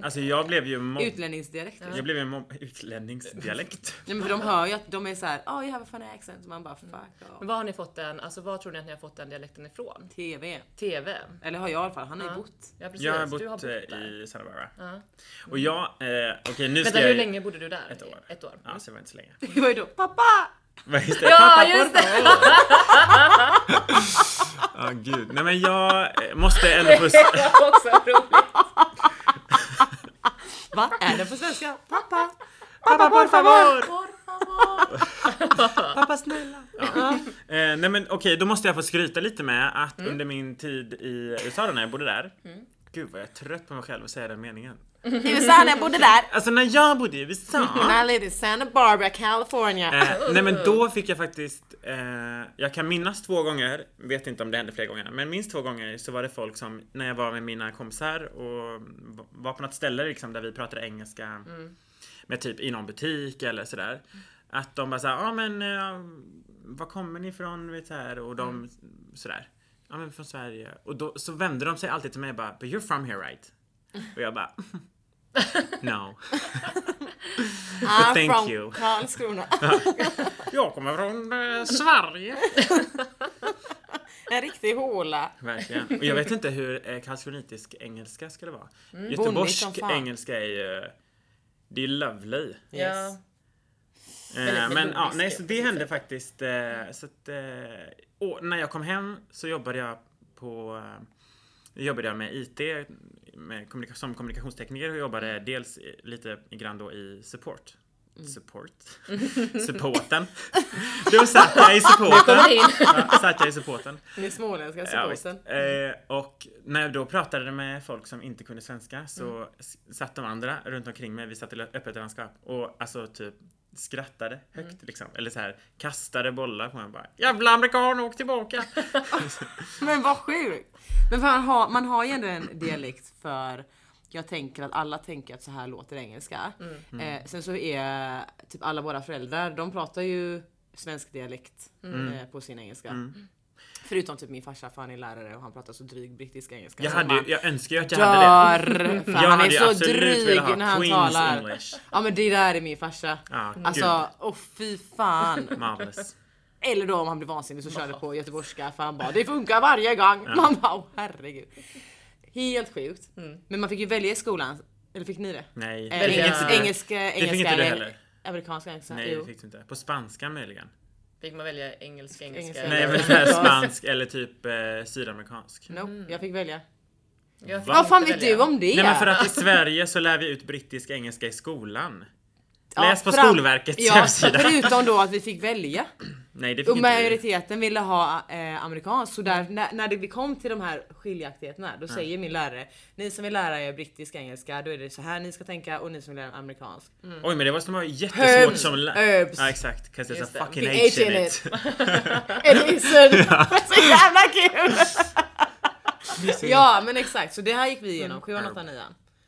Speaker 1: Alltså jag blev ju mobbad.
Speaker 2: utlänningsdialekt.
Speaker 1: Jag blev ju mobbad.
Speaker 3: [laughs]
Speaker 1: Utlänningsdialekt.
Speaker 2: Nej, men för de hör ju att de är såhär, oh you have a funny accent. Och man bara fuck off.
Speaker 3: Men Var har ni fått den, alltså var tror ni att ni har fått den dialekten ifrån?
Speaker 2: TV.
Speaker 3: TV?
Speaker 2: Eller har jag i alla fall, han har ju
Speaker 3: Ja.
Speaker 2: bott.
Speaker 3: Ja precis,
Speaker 1: Jag har
Speaker 3: du har
Speaker 1: bott
Speaker 3: bott där.
Speaker 1: eh, i Santa Barbara.
Speaker 3: Ja.
Speaker 1: Och jag... Eh, Okej nu ska
Speaker 3: Vänta,
Speaker 1: jag...
Speaker 3: hur länge bodde du där?
Speaker 1: Ett år. Ah,
Speaker 3: Ett år.
Speaker 1: Ja, så det var inte så länge. [laughs]
Speaker 2: Det var ju då, pappa!
Speaker 1: Vad heter det?
Speaker 3: Ja, just det!
Speaker 1: Ja, gud. Nej men jag eh, måste ändå få...
Speaker 3: [laughs] Det var också roligt.
Speaker 2: Vad är det på svenska? Pappa!
Speaker 1: Pappa, por favor!
Speaker 3: Por favor.
Speaker 1: Pappa snälla! Ja. Eh, nej men okej, då måste jag få skryta lite med att
Speaker 3: Mm.
Speaker 1: under min tid i USA då, när jag bodde där. Gud vad jag är trött på mig själv att säga den meningen.
Speaker 2: USA när jag bodde där.
Speaker 1: Alltså när jag bodde i USA.
Speaker 2: [laughs] When I lived in Santa Barbara, California.
Speaker 1: Eh, nej men då fick jag faktiskt, eh, jag kan minnas två gånger, vet inte om det hände fler gånger, men minst två gånger så var det folk som, när jag var med mina kompisar och var på något ställe liksom där vi pratade engelska med typ i någon butik eller sådär. Att de bara såhär, ja ah, men eh, var kommer ni ifrån? Vet, så här, och de sådär, ja ah, men från Sverige. Och då så vände de sig alltid till mig och bara, but you're from here right? Och jag bara, [laughs] no.
Speaker 2: I'm
Speaker 1: thank
Speaker 2: from
Speaker 1: you.
Speaker 2: Karlskrona.
Speaker 1: Jag kommer från eh, Sverige.
Speaker 2: en riktig håla.
Speaker 1: Verkligen. Och jag vet inte hur eh, karlskronitisk engelska skulle vara.
Speaker 2: Bonnigt som
Speaker 1: Göteborgsk
Speaker 2: fan.
Speaker 1: engelska är ju... Det är lovely. Eh,
Speaker 3: Ja.
Speaker 1: men
Speaker 3: melodisk
Speaker 1: ja, nej,
Speaker 3: är
Speaker 1: så
Speaker 3: det
Speaker 1: det
Speaker 3: på
Speaker 1: hände faktiskt. Eh, så att, eh, och när jag kom hem så jobbade jag på... Eh, jobbade jag med IT, med kommunika- som kommunikationstekniker och jobbade dels i- lite grann då i support. Support. [laughs] supporten. [laughs] Då satt jag i supporten.
Speaker 3: Kommer in.
Speaker 1: Ja, satt jag i supporten.
Speaker 2: Ni småländska
Speaker 1: Ja, visst.
Speaker 2: supporten.
Speaker 1: eh, och när jag då pratade med folk som inte kunde svenska så
Speaker 2: Mm.
Speaker 1: s- satt de andra runt omkring mig, vi satt i lö- öppet landskap och alltså typ skrattade
Speaker 2: Mm.
Speaker 1: högt liksom. Eller så här kastade bollar på mig bara Jävla amerikan, åk tillbaka!
Speaker 2: Men vad sjukt! Men för man, har, man har ju ändå en dialekt för jag tänker att alla tänker att så här låter engelska.
Speaker 1: Mm.
Speaker 2: Eh, sen så är typ alla våra föräldrar, de pratar ju svensk dialekt
Speaker 1: Mm.
Speaker 2: eh, på sin engelska. Förutom typ min farsa för han är lärare och han pratar så dryg brittisk engelska.
Speaker 1: Jag,
Speaker 2: så
Speaker 1: hade,
Speaker 2: man
Speaker 1: ju- jag önskar ju att jag hade det.
Speaker 2: dör! För
Speaker 1: Jag
Speaker 2: han är
Speaker 1: hade ju
Speaker 2: så
Speaker 1: absolut
Speaker 2: dryg
Speaker 1: velat ha
Speaker 2: när han
Speaker 1: Queens
Speaker 2: talar.
Speaker 1: English.
Speaker 2: Ja men det där är min farsa.
Speaker 1: Ja,
Speaker 2: Alltså, åh fy fan.
Speaker 1: gud. Marvelous.
Speaker 2: Eller då om han blev vansinnig så körde på göteborgska för han bara det funkar varje gång. Man bara åh herregud. Helt sjukt. Mm. Men man fick ju välja i skolan. Eller fick ni det?
Speaker 1: Nej.
Speaker 2: Eh,
Speaker 1: det fick
Speaker 3: Välja-
Speaker 1: inte
Speaker 2: engelska,
Speaker 1: du.
Speaker 2: engelska,
Speaker 1: Det fick
Speaker 2: engelska
Speaker 1: inte du
Speaker 2: eller
Speaker 1: heller.
Speaker 2: amerikanska engelska.
Speaker 1: Nej, det
Speaker 2: jo.
Speaker 1: fick du inte. På spanska möjligen.
Speaker 3: Fick man välja engelska, engelska?
Speaker 2: Engelska.
Speaker 1: Nej,
Speaker 3: eller-
Speaker 1: men
Speaker 2: det är
Speaker 1: spansk eller typ eh, sydamerikansk.
Speaker 2: No, jag fick välja.
Speaker 3: Jag fick
Speaker 2: Vad fan
Speaker 3: inte
Speaker 2: vet
Speaker 3: välja. Alltså,
Speaker 2: du om det?
Speaker 1: Nej men för att i Sverige så lär vi ut brittisk engelska i skolan.
Speaker 2: Ja,
Speaker 1: Läs på
Speaker 2: fram-
Speaker 1: Skolverkets
Speaker 2: Ja,
Speaker 1: hemsida.
Speaker 2: förutom då att vi fick välja.
Speaker 1: Nej det fick
Speaker 2: Och
Speaker 1: inte vi.
Speaker 2: majoriteten ville ha eh, amerikansk. Så där, när, när det kom till de här skiljaktigheterna, då säger min lärare, ni som vill lära er brittisk engelska, då är det så här ni ska tänka och ni som vill lära
Speaker 1: [laughs]
Speaker 2: er amerikansk.
Speaker 1: Oj men det var som var jättesvårt
Speaker 2: Herbs,
Speaker 1: som lä-
Speaker 2: herbs.
Speaker 1: Ja exakt, 'cause there's
Speaker 3: Just
Speaker 1: a
Speaker 3: det.
Speaker 1: fucking
Speaker 2: The
Speaker 1: H
Speaker 2: H
Speaker 1: in
Speaker 2: in
Speaker 1: it. [laughs]
Speaker 2: Eller isen! [laughs] så jävla
Speaker 1: [laughs]
Speaker 2: kul! [laughs] ja men exakt, så det här gick vi igenom, 7, 8, 9.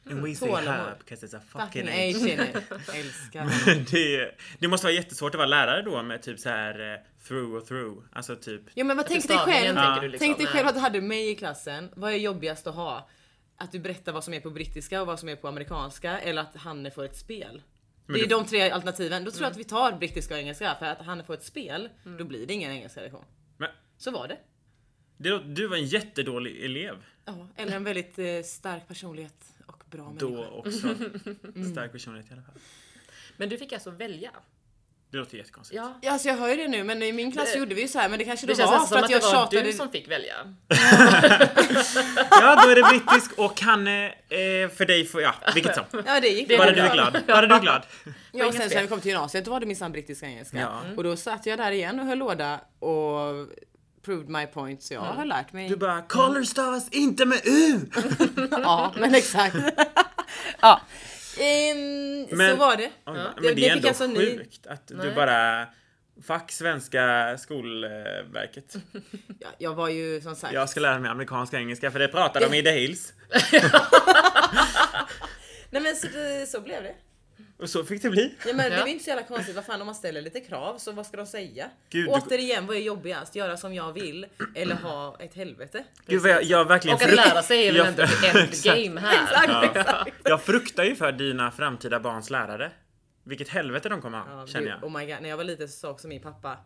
Speaker 1: And we say
Speaker 2: Tålamod.
Speaker 1: herb 'cause there's a Mm. fucking
Speaker 2: Fucking
Speaker 1: H.
Speaker 2: asian. Älskar
Speaker 1: [laughs]
Speaker 2: honom.
Speaker 1: det, det måste vara jättesvårt att vara lärare då med typ så här eh, through och through. Alltså typ
Speaker 2: Jo men vad tänk dig
Speaker 3: Stavningen
Speaker 2: själv,
Speaker 3: tänker du liksom,
Speaker 2: tänk dig
Speaker 3: nej.
Speaker 2: själv att du hade mig i klassen, vad är jobbigast att ha? Att du berättar vad som är på brittiska och vad som är på amerikanska eller att Hanne får ett spel. det är
Speaker 1: du-
Speaker 2: de tre alternativen. Då tror
Speaker 3: Mm.
Speaker 2: jag att vi tar brittiska och engelska för att Hanne får ett spel, då blir det ingen engelska lektion.
Speaker 1: Men
Speaker 2: Så var det.
Speaker 1: det, lå- du var en jättedålig elev
Speaker 2: Ja, eller en väldigt eh, stark personlighet och bra människa.
Speaker 1: då också.
Speaker 2: Mm.
Speaker 1: Stark personlighet i alla fall.
Speaker 3: Men du fick alltså välja?
Speaker 1: Det låter jättekonstigt.
Speaker 3: Ja.
Speaker 2: Ja, alltså jag hör ju det nu men i min klass
Speaker 3: Det-
Speaker 2: gjorde vi ju så här men det kanske
Speaker 3: Det
Speaker 2: det,
Speaker 3: känns
Speaker 2: var
Speaker 3: nästan
Speaker 2: för
Speaker 3: som
Speaker 2: att,
Speaker 3: att det
Speaker 2: jag
Speaker 3: var
Speaker 2: tjatade.
Speaker 3: du som fick välja.
Speaker 1: Ja, då är det brittisk och han är eh, för dig för, ja, vilket
Speaker 2: [laughs]
Speaker 1: som.
Speaker 2: Ja det gick
Speaker 3: Det
Speaker 2: bra.
Speaker 1: Bara
Speaker 3: är
Speaker 1: du är
Speaker 3: bra.
Speaker 1: glad. Bara du är glad.
Speaker 2: [laughs] Ja, och sen
Speaker 3: Engelska.
Speaker 2: så när vi kom till gymnasiet då var det minsann brittiska och engelska.
Speaker 1: Ja.
Speaker 2: Och då satt jag där igen och höll låda och proved my point så jag har lärt mig.
Speaker 1: Mm. Du bara, color stavas inte med U!
Speaker 2: Ja
Speaker 1: "Mm." [laughs]
Speaker 2: men exakt. ja. Ehm, så
Speaker 1: Men-
Speaker 2: var det.
Speaker 1: Oj, Men
Speaker 2: Det-
Speaker 1: det,
Speaker 2: det
Speaker 1: är
Speaker 2: fick
Speaker 1: ändå
Speaker 2: alltså ni-
Speaker 1: sjukt att du
Speaker 3: Nej.
Speaker 1: bara, fuck svenska skolverket.
Speaker 2: Ja, jag var ju som sagt.
Speaker 1: Jag ska lära mig amerikanska och engelska för det pratar de i The Hills.
Speaker 2: Nej men så, det, så blev det.
Speaker 1: Och så fick det bli.
Speaker 2: Ja, men Det
Speaker 3: Ja.
Speaker 2: var inte så jävla konstigt. Vad fan om man ställer lite krav så vad ska de säga?
Speaker 1: Gud, du-
Speaker 2: Återigen vad är jobbigast? Göra som jag vill eller ha ett
Speaker 1: [clears throat]
Speaker 2: helvete?
Speaker 1: Gud, vad jag, jag verkligen
Speaker 3: Och att
Speaker 1: frukt-
Speaker 3: lära sig är väl
Speaker 1: jag-
Speaker 3: ändå the
Speaker 1: [laughs] Exakt.
Speaker 3: end game här.
Speaker 2: Exakt, exakt.
Speaker 1: Jag fruktar ju för dina framtida barns lärare. Vilket helvete de kommer ha,
Speaker 2: Ja,
Speaker 1: känner
Speaker 2: gud,
Speaker 1: jag.
Speaker 2: Oh my god, när jag var liten så sa också min pappa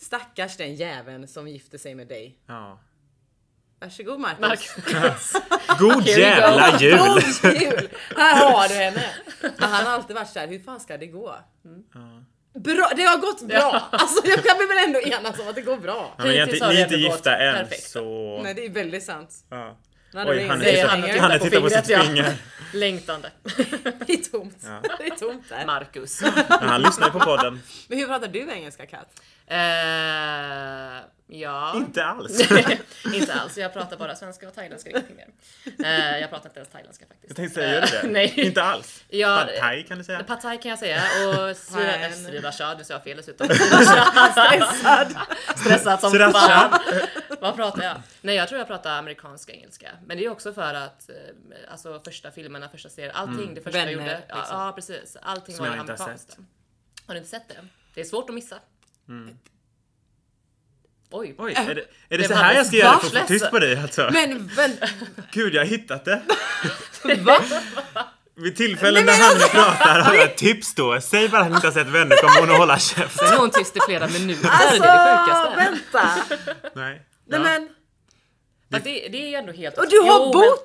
Speaker 2: Stackars den jäveln som gifte sig med dig.
Speaker 3: [laughs]
Speaker 1: Ja.
Speaker 2: Varsågod Marcus.
Speaker 3: Mark-
Speaker 1: [laughs] God
Speaker 3: we go.
Speaker 1: jävla jul! [laughs]
Speaker 2: God jul! Här har du henne! Men han har alltid varit såhär, hur fan ska det gå? Mm.
Speaker 1: Ja.
Speaker 2: Bra, det har gått bra! Alltså jag kan vi väl ändå enas om att det går bra?
Speaker 1: Ja, men jag är
Speaker 3: Hittills
Speaker 1: inte,
Speaker 3: har
Speaker 1: ni är
Speaker 3: det
Speaker 1: inte
Speaker 3: ändå gått
Speaker 1: gifta än
Speaker 3: perfekt.
Speaker 1: så...
Speaker 2: Nej det är väldigt sant.
Speaker 1: Ja.
Speaker 2: Han hade
Speaker 1: Oj,
Speaker 2: väl
Speaker 1: han
Speaker 2: ingen
Speaker 3: tittar-
Speaker 2: släktingar.
Speaker 1: tittar, han tittar på
Speaker 3: fingret,
Speaker 1: sitt
Speaker 3: ja.
Speaker 1: finger. [laughs]
Speaker 3: Längtande.
Speaker 2: Det är tomt.
Speaker 1: Ja.
Speaker 2: [laughs] Det är tomt
Speaker 1: [laughs]
Speaker 2: där.
Speaker 3: Marcus.
Speaker 1: Ja, han lyssnar ju på
Speaker 3: [laughs]
Speaker 1: podden.
Speaker 2: Men hur pratar du engelska Kat?
Speaker 3: Eh, ja.
Speaker 1: Inte alls.
Speaker 3: [laughs] inte alls, jag pratar bara svenska och thailändska ingenting mer. Eh, jag pratar inte ens thailändska faktiskt.
Speaker 1: Jag tänkte säga, gör du det?
Speaker 3: Eh, [laughs] Nej.
Speaker 1: Inte alls.
Speaker 3: Ja,
Speaker 1: Pad thai kan du säga.
Speaker 3: Pad thai kan jag säga och
Speaker 2: Thailand.
Speaker 3: srirachad, nu sa jag
Speaker 1: [laughs]
Speaker 3: fel dessutom. Stressad. Stressad som
Speaker 1: Srirachad.
Speaker 3: fan. Vad pratar jag? Nej jag tror jag pratar amerikansk engelska. Men det är också för att eh, alltså första filmerna, första serien, allting det första
Speaker 2: Vänner,
Speaker 3: jag gjorde. Ja,
Speaker 2: liksom.
Speaker 3: ja precis, allting
Speaker 1: Mm. Som
Speaker 3: var
Speaker 1: jag inte har
Speaker 3: amerikanskt.
Speaker 1: sett. Mm.
Speaker 3: Har du inte sett det? Det är svårt att missa. Oj.
Speaker 1: Oj, är det, är det
Speaker 3: Det
Speaker 1: så
Speaker 3: var
Speaker 1: här jag ska göra
Speaker 3: va?
Speaker 1: för att få tyst på dig alltså?
Speaker 2: Men vänta,
Speaker 1: Gud, jag har hittat det.
Speaker 2: va?
Speaker 1: Vid tillfällen när han pratar har jag tips då. Säg bara att han inte har sett vänner kommer hon att hålla käften.
Speaker 3: Nu är hon tyst i flera minuter.
Speaker 2: Alltså
Speaker 3: det är det sjukaste.
Speaker 2: vänta!
Speaker 1: [laughs] Nej. Ja.
Speaker 2: Nej men,
Speaker 3: Fast det, det är ändå helt...
Speaker 2: och du har
Speaker 3: Jo, men-
Speaker 2: bott!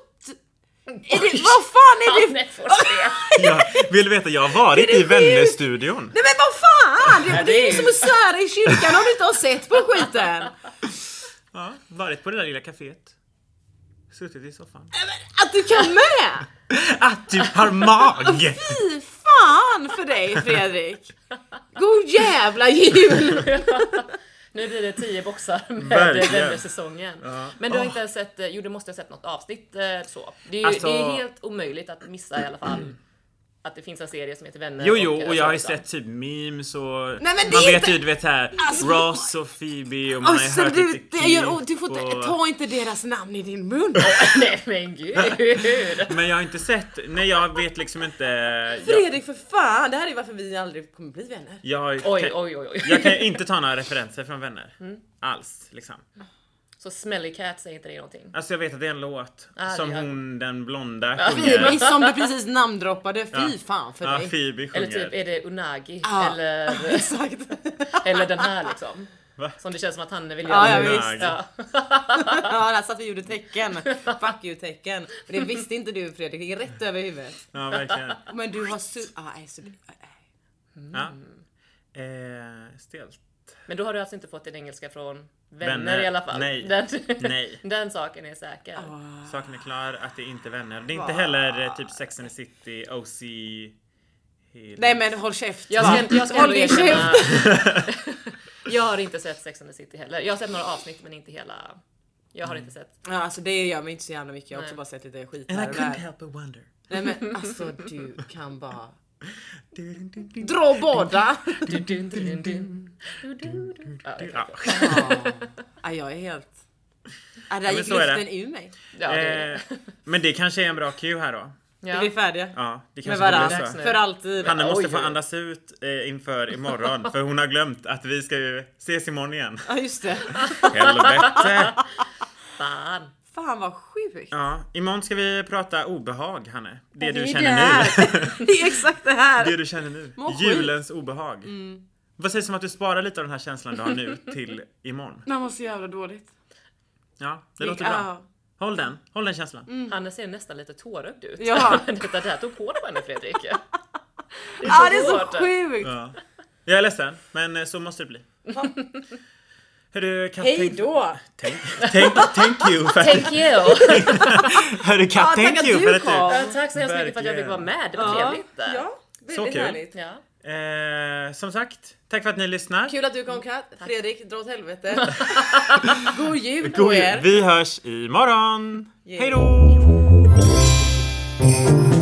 Speaker 2: Är det, vad fan är det?
Speaker 3: Nej, får se.
Speaker 1: Jag vill du veta, jag har varit i
Speaker 2: det sjukt?
Speaker 1: vännerstudion.
Speaker 2: Nej men vad fan! Det,
Speaker 3: Nej,
Speaker 2: det är ju
Speaker 3: det är
Speaker 2: som att svära i kyrkan om du inte har sett på skiten!
Speaker 1: Ja, varit på det där lilla kaféet. Suttit i soffan.
Speaker 2: Att du kan med!
Speaker 1: Att du har mag!
Speaker 2: Fy fan fan för dig Fredrik! God jävla jul!
Speaker 3: Nu blir det 10 boxar med
Speaker 1: [laughs] Verkligen.
Speaker 3: Vendor-säsongen.
Speaker 1: Ja.
Speaker 3: Men du har
Speaker 1: Åh.
Speaker 3: inte ens sett, eh, jo du måste ha sett något avsnitt eh, så. Det är ju
Speaker 1: Alltså-
Speaker 3: det är helt omöjligt att missa i alla fall. Att det finns en serie som heter Vänner.
Speaker 1: Jo, jo,
Speaker 3: eh,
Speaker 1: och jag har ju
Speaker 3: så liksom.
Speaker 1: sett typ memes och...
Speaker 2: alltså. men det
Speaker 1: man
Speaker 2: är
Speaker 1: vet
Speaker 2: inte-
Speaker 1: ju, du vet här,
Speaker 2: Alltså-
Speaker 1: Ross och Phoebe och man
Speaker 2: Alltså
Speaker 1: har ju hört
Speaker 2: du,
Speaker 1: lite
Speaker 2: det gör
Speaker 1: klipp
Speaker 2: ont, du får inte,
Speaker 1: och...
Speaker 2: ta inte deras namn i din mun!
Speaker 3: [laughs] Nej
Speaker 1: [laughs]
Speaker 3: men gud.
Speaker 1: Men jag har inte sett, nej jag vet liksom inte... Jag,
Speaker 2: Fredrik för fan, det här är varför vi aldrig kommer bli vänner.
Speaker 1: jag, har ju-
Speaker 3: Oj,
Speaker 1: kan,
Speaker 3: oj, oj, oj.
Speaker 1: jag kan ju inte ta några referenser från vänner.
Speaker 2: Mm.
Speaker 1: Alls liksom.
Speaker 3: Så Smelly Cat säger inte det någonting.
Speaker 1: Alltså jag vet att det är en låt
Speaker 3: Ah, det
Speaker 1: som
Speaker 3: är-
Speaker 1: hon den blonda
Speaker 2: Phoebe
Speaker 1: sjunger.
Speaker 2: som du precis namndroppade, fy
Speaker 1: Ja.
Speaker 2: fan för
Speaker 1: Ja,
Speaker 2: dig.
Speaker 1: Phoebe
Speaker 3: Eller typ
Speaker 1: sjunger.
Speaker 3: är det Unagi?
Speaker 2: Ja.
Speaker 3: Eller,
Speaker 2: [laughs] Exakt.
Speaker 3: eller den här liksom.
Speaker 1: Va?
Speaker 3: Som det känns som att han vill
Speaker 2: Ja,
Speaker 3: göra.
Speaker 2: ja,
Speaker 1: visst.
Speaker 3: Ja.
Speaker 2: Ja, där satt vi och gjorde tecken. Fuck you tecken. Men det visste inte du Fredrik, det gick rätt över huvudet.
Speaker 1: Ja, verkligen.
Speaker 2: Men du har su- ah, nej, så...
Speaker 1: Ja.
Speaker 2: Mm.
Speaker 1: Eh, stelt.
Speaker 3: Men då har du alltså inte fått din engelska från vänner,
Speaker 1: Vänner.
Speaker 3: i alla fall?
Speaker 1: Nej.
Speaker 3: Den,
Speaker 1: Nej.
Speaker 3: [laughs] den saken är säker.
Speaker 1: Saken är klar att det är inte vänner. Det är inte heller eh, typ Sex and the City, OC... Hill.
Speaker 2: Nej men håll käft.
Speaker 3: Jag
Speaker 2: va?
Speaker 3: ska, jag ska
Speaker 2: Håll
Speaker 3: ändå
Speaker 2: din
Speaker 3: erkänna.
Speaker 2: käft.
Speaker 3: [laughs] jag har inte sett Sex and the City heller. Jag har sett några avsnitt men inte hela. Jag har inte sett.
Speaker 2: Ja, alltså det gör mig inte så jävla mycket. Jag har också
Speaker 3: Nej.
Speaker 2: bara sett lite skit
Speaker 1: And I
Speaker 2: här och
Speaker 1: couldn't
Speaker 2: där.
Speaker 1: help but wonder.
Speaker 2: Nej men alltså du kan bara
Speaker 1: Du-du-du-du.
Speaker 2: dra båda.
Speaker 3: Ja, det är klart.
Speaker 1: Ja.
Speaker 2: Ja. Ja, jag är helt... Ja, där
Speaker 1: men
Speaker 2: gick
Speaker 1: så är det.
Speaker 2: luften ur mig.
Speaker 3: Ja, det är det.
Speaker 1: Eh, men det kanske är en bra cue här då.
Speaker 2: Är Vi
Speaker 3: Ja.
Speaker 2: är färdiga.
Speaker 1: Ja, det
Speaker 2: Med
Speaker 1: kanske
Speaker 2: varandra.
Speaker 1: blir så.
Speaker 3: nu.
Speaker 2: För alltid.
Speaker 1: Hanna måste
Speaker 3: Oj,
Speaker 1: få
Speaker 3: oj, oj.
Speaker 1: andas ut eh, inför imorgon för hon har glömt att vi ska ju ses imorgon igen.
Speaker 2: Ja just det.
Speaker 1: Helvete!
Speaker 3: Fan.
Speaker 2: Fan vad sjukt.
Speaker 1: Ja, imorgon ska vi prata obehag Hanne. Det
Speaker 2: är
Speaker 1: du
Speaker 2: det
Speaker 1: känner nu.
Speaker 2: här. Det är exakt det här.
Speaker 1: [laughs] Det du känner nu.
Speaker 2: Må skit.
Speaker 1: Julens obehag. Vad sägs om att du sparar lite av den här känslan du har nu till imorgon?
Speaker 2: Man mår så jävla dåligt.
Speaker 1: Ja, det låter bra. Håll den, håll den känslan.
Speaker 2: Mm.
Speaker 3: Hanna ser nästan lite tårögd ut. [laughs]
Speaker 2: Ja.
Speaker 3: Detta där tog hårt på henne Fredrik.
Speaker 2: Ja, ah, det är så
Speaker 3: hårt.
Speaker 2: sjukt.
Speaker 1: Ja. Jag är ledsen, men eh, så måste det bli. Hörru, Kat,
Speaker 2: Hej
Speaker 1: tänk-
Speaker 2: då.
Speaker 1: Tänk, tänk, thank you för
Speaker 3: Thank you!
Speaker 1: Hörru Kat,
Speaker 2: Ja, tack
Speaker 1: thank
Speaker 2: att
Speaker 1: you
Speaker 2: du
Speaker 1: för att
Speaker 2: kom.
Speaker 1: du...
Speaker 3: Ja, [laughs] Tack så hemskt mycket för att jag fick vara med. Det var trevligt.
Speaker 2: Ja, väldigt
Speaker 1: Så kul.
Speaker 2: härligt.
Speaker 3: Ja.
Speaker 1: Eh, som sagt, tack för att ni lyssnar.
Speaker 2: Kul att du kom Kat. Fredrik, dra åt
Speaker 1: [laughs]
Speaker 2: helvete. God jul på
Speaker 1: God jul.
Speaker 2: er.
Speaker 1: Vi hörs imorgon!
Speaker 2: Yeah.
Speaker 1: Hej då!